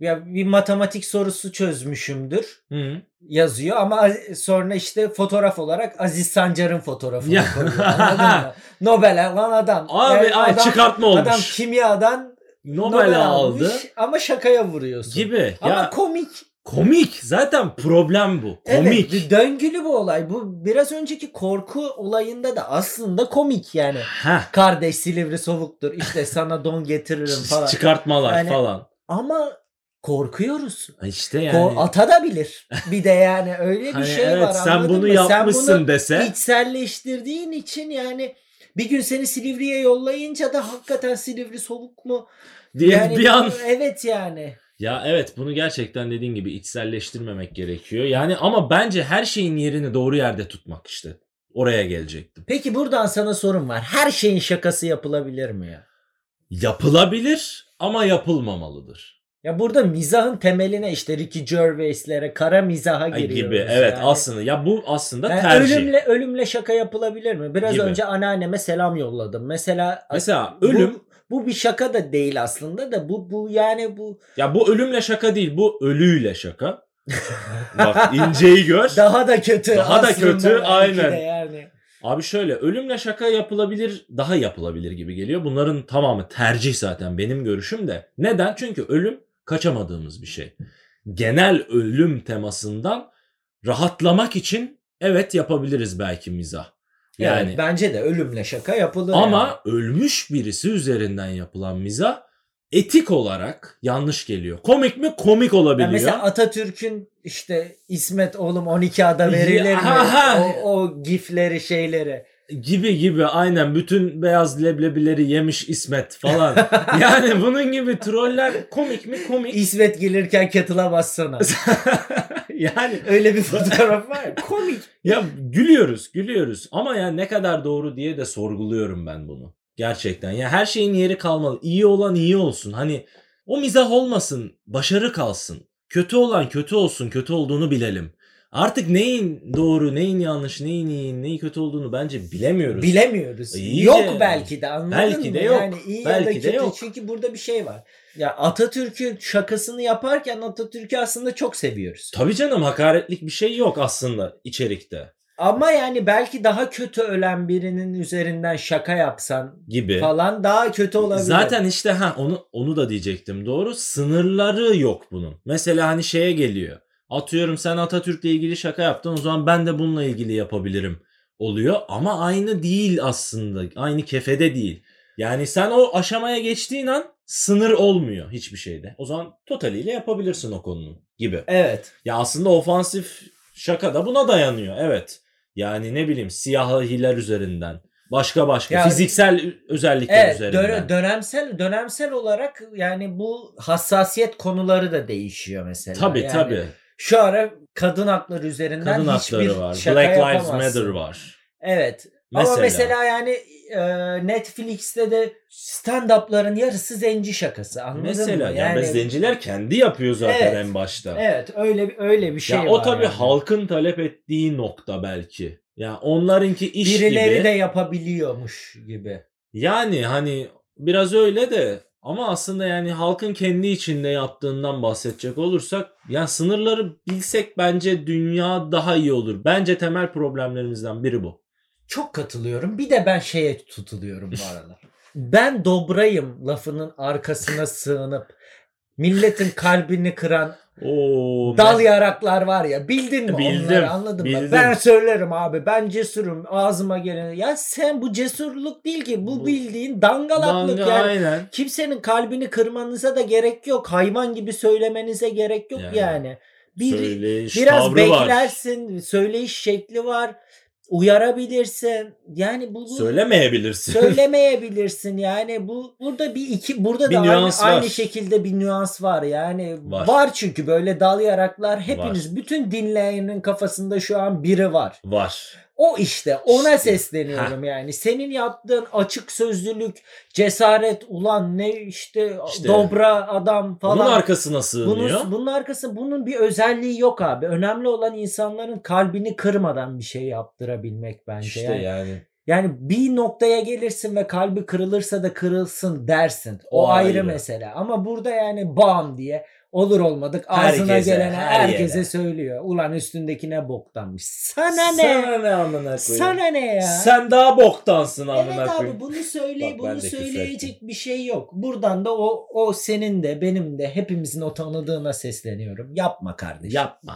[SPEAKER 1] ya bir matematik sorusu çözmüşümdür
[SPEAKER 2] Hı.
[SPEAKER 1] yazıyor ama az- sonra işte fotoğraf olarak Aziz Sancar'ın fotoğrafını
[SPEAKER 2] Ya.
[SPEAKER 1] koyuyor. Anladın mı? Nobel alan adam.
[SPEAKER 2] Abi
[SPEAKER 1] Yani
[SPEAKER 2] ay,
[SPEAKER 1] adam,
[SPEAKER 2] çıkartma olmuş.
[SPEAKER 1] Adam kimyadan
[SPEAKER 2] Nobel,
[SPEAKER 1] Nobel,
[SPEAKER 2] aldı
[SPEAKER 1] almış ama şakaya vuruyorsun.
[SPEAKER 2] gibi.
[SPEAKER 1] Ama
[SPEAKER 2] ya
[SPEAKER 1] komik.
[SPEAKER 2] komik zaten problem bu.
[SPEAKER 1] Evet,
[SPEAKER 2] Komik.
[SPEAKER 1] bir döngülü bu olay. Bu biraz önceki korku olayında da aslında komik yani.
[SPEAKER 2] Heh,
[SPEAKER 1] Kardeş Silivri soğuktur. işte sana don getiririm falan.
[SPEAKER 2] çıkartmalar
[SPEAKER 1] Yani-
[SPEAKER 2] falan.
[SPEAKER 1] Ama korkuyoruz.
[SPEAKER 2] İşte
[SPEAKER 1] Ko-
[SPEAKER 2] yani.
[SPEAKER 1] ata da bilir. Bir de yani öyle bir
[SPEAKER 2] Hani
[SPEAKER 1] şey
[SPEAKER 2] evet
[SPEAKER 1] var.
[SPEAKER 2] sen
[SPEAKER 1] anladın
[SPEAKER 2] bunu
[SPEAKER 1] mı?
[SPEAKER 2] yapmışsın
[SPEAKER 1] Sen bunu
[SPEAKER 2] dese
[SPEAKER 1] içselleştirdiğin için yani bir gün seni Silivri'ye yollayınca da hakikaten Silivri soğuk mu?
[SPEAKER 2] diye
[SPEAKER 1] yani
[SPEAKER 2] bir an
[SPEAKER 1] Evet yani.
[SPEAKER 2] Ya evet bunu gerçekten dediğin gibi içselleştirmemek gerekiyor. Yani ama bence her şeyin yerini doğru yerde tutmak işte. Oraya gelecektim.
[SPEAKER 1] Peki buradan sana sorum var. Her şeyin şakası yapılabilir mi ya?
[SPEAKER 2] Yapılabilir ama yapılmamalıdır.
[SPEAKER 1] Ya burada mizahın temeline işte Ricky Gervais'lere kara mizaha
[SPEAKER 2] Ay
[SPEAKER 1] giriyoruz.
[SPEAKER 2] gibi evet
[SPEAKER 1] yani.
[SPEAKER 2] aslında ya bu aslında
[SPEAKER 1] Yani
[SPEAKER 2] tercih.
[SPEAKER 1] ölümle ölümle şaka yapılabilir mi? Biraz
[SPEAKER 2] Gibi.
[SPEAKER 1] önce anneanneme selam yolladım. Mesela
[SPEAKER 2] Mesela
[SPEAKER 1] Bu-
[SPEAKER 2] ölüm
[SPEAKER 1] bu, bir şaka da değil aslında da bu bu yani bu
[SPEAKER 2] ya bu ölümle şaka değil bu ölüyle şaka. Bak inceyi gör.
[SPEAKER 1] daha da kötü.
[SPEAKER 2] Daha da
[SPEAKER 1] aslında
[SPEAKER 2] kötü,
[SPEAKER 1] belki de
[SPEAKER 2] aynen.
[SPEAKER 1] Yani.
[SPEAKER 2] Abi şöyle ölümle şaka yapılabilir daha yapılabilir gibi geliyor. Bunların tamamı tercih zaten benim görüşüm de. Neden? Çünkü ölüm kaçamadığımız bir şey. Genel ölüm temasından rahatlamak için evet yapabiliriz belki mizah.
[SPEAKER 1] Yani
[SPEAKER 2] Yani
[SPEAKER 1] bence de ölümle şaka yapılır.
[SPEAKER 2] ama ölmüş birisi üzerinden yapılan mizah etik olarak yanlış geliyor. Komik mi? Komik
[SPEAKER 1] yani.
[SPEAKER 2] olabiliyor.
[SPEAKER 1] Yani mesela Atatürk'ün işte İsmet oğlum 12 ada verilir mi?
[SPEAKER 2] Aha.
[SPEAKER 1] O, o gifleri şeyleri.
[SPEAKER 2] gibi gibi aynen bütün beyaz leblebileri yemiş İsmet falan. yani bunun gibi troller komik mi komik.
[SPEAKER 1] İsmet gelirken kettle'a bassana.
[SPEAKER 2] yani
[SPEAKER 1] Öyle bir fotoğraf var. ya, Komik.
[SPEAKER 2] ya gülüyoruz gülüyoruz ama ya ne kadar doğru diye de sorguluyorum ben bunu. Gerçekten ya her şeyin yeri kalmalı. İyi olan iyi olsun. Hani o mizah olmasın, başarı kalsın. Kötü olan kötü olsun, kötü olduğunu bilelim. Artık neyin doğru, neyin yanlış, neyin iyi, neyin kötü olduğunu bence bilemiyoruz.
[SPEAKER 1] Bilemiyoruz.
[SPEAKER 2] İyice.
[SPEAKER 1] Yok belki de anladın
[SPEAKER 2] Belki
[SPEAKER 1] mı?
[SPEAKER 2] de yok.
[SPEAKER 1] Yani iyi ya da
[SPEAKER 2] Belki de
[SPEAKER 1] kötü.
[SPEAKER 2] yok.
[SPEAKER 1] Çünkü burada bir şey var. Ya Atatürk'ün şakasını yaparken Atatürk'ü aslında çok seviyoruz.
[SPEAKER 2] Tabii canım hakaretlik bir şey yok aslında içerikte
[SPEAKER 1] Ama yani belki daha kötü ölen birinin üzerinden şaka yapsan
[SPEAKER 2] gibi.
[SPEAKER 1] falan daha kötü olabilir.
[SPEAKER 2] E, Zaten işte ha onu onu da diyecektim doğru. Sınırları yok bunun. Mesela hani şeye geliyor. Atıyorum sen Atatürk'le ilgili şaka yaptın o zaman ben de bununla ilgili yapabilirim oluyor ama aynı değil aslında. Aynı kefede değil. Yani sen o aşamaya geçtiğin an sınır olmuyor hiçbir şeyde. O zaman totaliyle yapabilirsin o konunun gibi.
[SPEAKER 1] evet.
[SPEAKER 2] Ya aslında ofansif şaka da buna dayanıyor. Evet. Yani ne bileyim siyahiler üzerinden. Başka başka
[SPEAKER 1] Yani-
[SPEAKER 2] fiziksel özellikler
[SPEAKER 1] Evet, dö-
[SPEAKER 2] üzerinden.
[SPEAKER 1] dönemsel dönemsel olarak yani bu hassasiyet konuları da değişiyor mesela.
[SPEAKER 2] tabii
[SPEAKER 1] yani
[SPEAKER 2] tabii.
[SPEAKER 1] Şu ara kadın hakları üzerinden
[SPEAKER 2] Kadın
[SPEAKER 1] hiçbir
[SPEAKER 2] hakları var.
[SPEAKER 1] şaka
[SPEAKER 2] Black Lives
[SPEAKER 1] yapamazsın.
[SPEAKER 2] Matter var.
[SPEAKER 1] Evet.
[SPEAKER 2] Mesela.
[SPEAKER 1] Ama mesela yani e, Netflix'te de stand-up'ların yarısı zenci şakası. Anladın
[SPEAKER 2] Mesela
[SPEAKER 1] mı?
[SPEAKER 2] ya biz zenciler kendi yapıyor zaten
[SPEAKER 1] Evet.
[SPEAKER 2] en başta.
[SPEAKER 1] Evet öyle öyle bir şey
[SPEAKER 2] ya
[SPEAKER 1] var.
[SPEAKER 2] o tabii
[SPEAKER 1] yani.
[SPEAKER 2] halkın talep ettiği nokta belki. Ya onlarınki iş
[SPEAKER 1] Birileri
[SPEAKER 2] gibi.
[SPEAKER 1] de yapabiliyormuş gibi.
[SPEAKER 2] Yani hani biraz öyle de ama aslında yani halkın kendi içinde yaptığından bahsedecek olursak yani sınırları bilsek bence dünya daha iyi olur. Bence temel problemlerimizden biri bu.
[SPEAKER 1] Çok katılıyorum. Bir de ben şeye tutuluyorum bu aralar. ben dobrayım lafının arkasına sığınıp milletin kalbini kıran
[SPEAKER 2] Oo,
[SPEAKER 1] dal
[SPEAKER 2] ben-
[SPEAKER 1] yaraklar var ya bildin mi
[SPEAKER 2] Bildim,
[SPEAKER 1] onları anladın mı?
[SPEAKER 2] bildim.
[SPEAKER 1] Ben söylerim abi ben cesurum ağzıma gelen. Ya sen bu cesurluk değil ki bu
[SPEAKER 2] Bu-
[SPEAKER 1] bildiğin dangalaklık
[SPEAKER 2] Danga,
[SPEAKER 1] yani.
[SPEAKER 2] Aynen.
[SPEAKER 1] Kimsenin kalbini kırmanıza da gerek yok. Hayvan gibi söylemenize gerek yok yani.
[SPEAKER 2] Yani.
[SPEAKER 1] Bir
[SPEAKER 2] Söyleyiş
[SPEAKER 1] biraz
[SPEAKER 2] tavrı var.
[SPEAKER 1] beklersin. Söyleyiş şekli var. Uyarabilirsin. Yani bu, bu
[SPEAKER 2] Söylemeyebilirsin.
[SPEAKER 1] söylemeyebilirsin. Yani bu burada bir iki burada
[SPEAKER 2] Bir
[SPEAKER 1] da aynı,
[SPEAKER 2] nüans var.
[SPEAKER 1] aynı şekilde bir nüans var. Yani var,
[SPEAKER 2] Var.
[SPEAKER 1] çünkü böyle dal yaraklar hepiniz bütün dinleyenin kafasında şu an biri var.
[SPEAKER 2] var.
[SPEAKER 1] O işte ona
[SPEAKER 2] İşte,
[SPEAKER 1] sesleniyorum yani. Senin yaptığın açık sözlülük, cesaret ulan ne işte,
[SPEAKER 2] İşte.
[SPEAKER 1] dobra adam falan.
[SPEAKER 2] Bunun arkasına sığınıyor.
[SPEAKER 1] Bunun, bunun arkası bunun bir özelliği yok abi. Önemli olan insanların kalbini kırmadan bir şey yaptırabilmek bence.
[SPEAKER 2] işte
[SPEAKER 1] yani.
[SPEAKER 2] yani.
[SPEAKER 1] yani bir noktaya gelirsin ve kalbi kırılırsa da kırılsın dersin. O,
[SPEAKER 2] O
[SPEAKER 1] ayrı
[SPEAKER 2] ayrı.
[SPEAKER 1] mesele. Ama burada yani bam diye olur olmadık ağzına
[SPEAKER 2] Herkese,
[SPEAKER 1] gelene
[SPEAKER 2] her
[SPEAKER 1] herkese
[SPEAKER 2] yere.
[SPEAKER 1] söylüyor. Ulan üstündekine boktanmış. Sana ne?
[SPEAKER 2] Sana ne amına koyayım?
[SPEAKER 1] Sana ne ya?
[SPEAKER 2] Sen daha boktansın amına
[SPEAKER 1] Evet abi
[SPEAKER 2] koyayım.
[SPEAKER 1] bunu söyle
[SPEAKER 2] Bak ben
[SPEAKER 1] bunu
[SPEAKER 2] de küfür
[SPEAKER 1] söyleyecek bir şey yok. Buradan da o o senin de benim de hepimizin o tanıdığına sesleniyorum. Yapma kardeşim.
[SPEAKER 2] Yapma.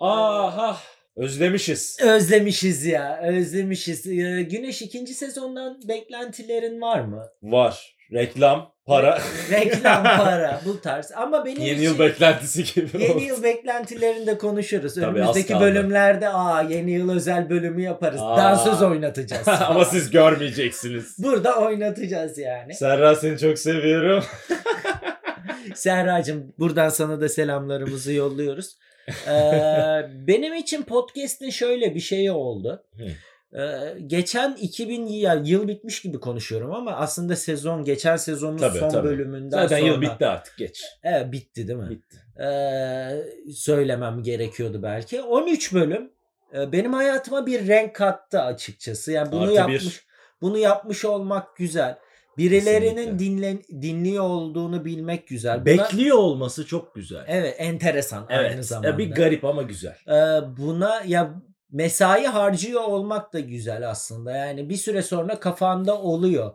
[SPEAKER 2] Aha. Özlemişiz.
[SPEAKER 1] Özlemişiz ya. Özlemişiz. Ee, Güneş ikinci sezondan beklentilerin var mı?
[SPEAKER 2] Var. Reklam, para.
[SPEAKER 1] Reklam para bu tarz. Ama benim
[SPEAKER 2] Yeni
[SPEAKER 1] için
[SPEAKER 2] yıl beklentisi gibi.
[SPEAKER 1] yeni
[SPEAKER 2] oldu.
[SPEAKER 1] yıl beklentilerinde konuşuruz.
[SPEAKER 2] Tabii, az
[SPEAKER 1] Önümüzdeki
[SPEAKER 2] kaldı.
[SPEAKER 1] bölümlerde aa yeni yıl özel bölümü yaparız.
[SPEAKER 2] Aa.
[SPEAKER 1] Dansöz oynatacağız.
[SPEAKER 2] Ama siz görmeyeceksiniz.
[SPEAKER 1] Burada oynatacağız yani.
[SPEAKER 2] Serra seni çok seviyorum.
[SPEAKER 1] Serracığım buradan sana da selamlarımızı yolluyoruz. Ee, benim için podcast'in şöyle bir şeyi oldu. Ee, geçen 2000 ya yıl bitmiş gibi konuşuyorum ama aslında sezon geçen sezonun
[SPEAKER 2] Tabii,
[SPEAKER 1] son
[SPEAKER 2] tabii.
[SPEAKER 1] bölümünden
[SPEAKER 2] Zaten
[SPEAKER 1] sonra
[SPEAKER 2] yıl bitti artık geç.
[SPEAKER 1] Evet, bitti değil mi?
[SPEAKER 2] Bitti.
[SPEAKER 1] Ee, söylemem gerekiyordu belki. 13 bölüm e, benim hayatıma bir renk kattı açıkçası. Yani bunu
[SPEAKER 2] Artı bir.
[SPEAKER 1] yapmış bunu yapmış olmak güzel. Birilerinin
[SPEAKER 2] Kesinlikle.
[SPEAKER 1] dinlen, dinliyor olduğunu bilmek güzel. Buna-
[SPEAKER 2] Bekliyor olması çok güzel.
[SPEAKER 1] Evet enteresan aynı
[SPEAKER 2] Evet.
[SPEAKER 1] zamanda.
[SPEAKER 2] Ya bir garip ama güzel.
[SPEAKER 1] Ee, buna ya mesai harcıyor olmak da güzel aslında. Yani bir süre sonra kafanda oluyor.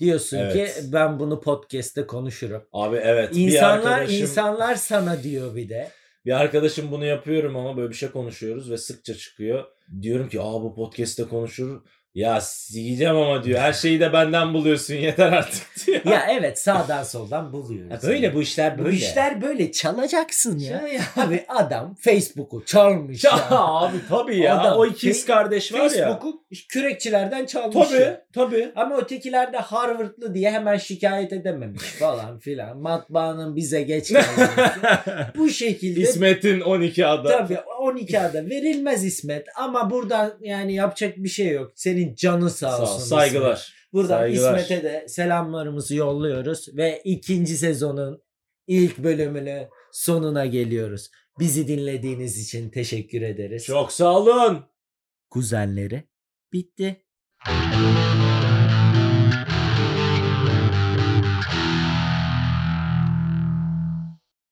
[SPEAKER 1] Diyorsun
[SPEAKER 2] Evet.
[SPEAKER 1] ki ben bunu podcast'te konuşurum.
[SPEAKER 2] Abi evet. bir
[SPEAKER 1] insanlar
[SPEAKER 2] arkadaşım-
[SPEAKER 1] insanlar sana diyor bir de.
[SPEAKER 2] Bir arkadaşım bunu yapıyorum ama böyle bir şey konuşuyoruz ve sıkça çıkıyor. Diyorum ki aa bu podcast'te konuşur. Ya yiyeceğim ama diyor. Her şeyi de benden buluyorsun yeter artık diyor.
[SPEAKER 1] Ya evet sağdan soldan buluyoruz.
[SPEAKER 2] Ya böyle bu işler
[SPEAKER 1] Bu
[SPEAKER 2] böyle.
[SPEAKER 1] işler böyle çalacaksın ya.
[SPEAKER 2] Ya, ya.
[SPEAKER 1] Abi adam Facebook'u çalmış
[SPEAKER 2] Ya
[SPEAKER 1] ya.
[SPEAKER 2] abi tabii ya.
[SPEAKER 1] Adam
[SPEAKER 2] o ikiz
[SPEAKER 1] Fe-
[SPEAKER 2] kardeş var ya.
[SPEAKER 1] Facebook'u kürekçilerden çalmış. ya.
[SPEAKER 2] Tabii tabii.
[SPEAKER 1] Ama ötekiler de Harvardlı diye hemen şikayet edememiş falan filan. Matbaanın bize geç gelmesi. Bu şekilde
[SPEAKER 2] İsmet'in 12 adı.
[SPEAKER 1] tabii 12 ada verilmez İsmet ama buradan yani yapacak bir şey yok. Senin canı sağ
[SPEAKER 2] Sağ ol,
[SPEAKER 1] olsun. İsmet.
[SPEAKER 2] saygılar.
[SPEAKER 1] Buradan
[SPEAKER 2] saygılar.
[SPEAKER 1] İsmet'e de selamlarımızı yolluyoruz ve ikinci sezonun ilk bölümünü sonuna geliyoruz. Bizi dinlediğiniz için teşekkür ederiz.
[SPEAKER 2] Çok sağ olun.
[SPEAKER 1] Kuzenleri bitti.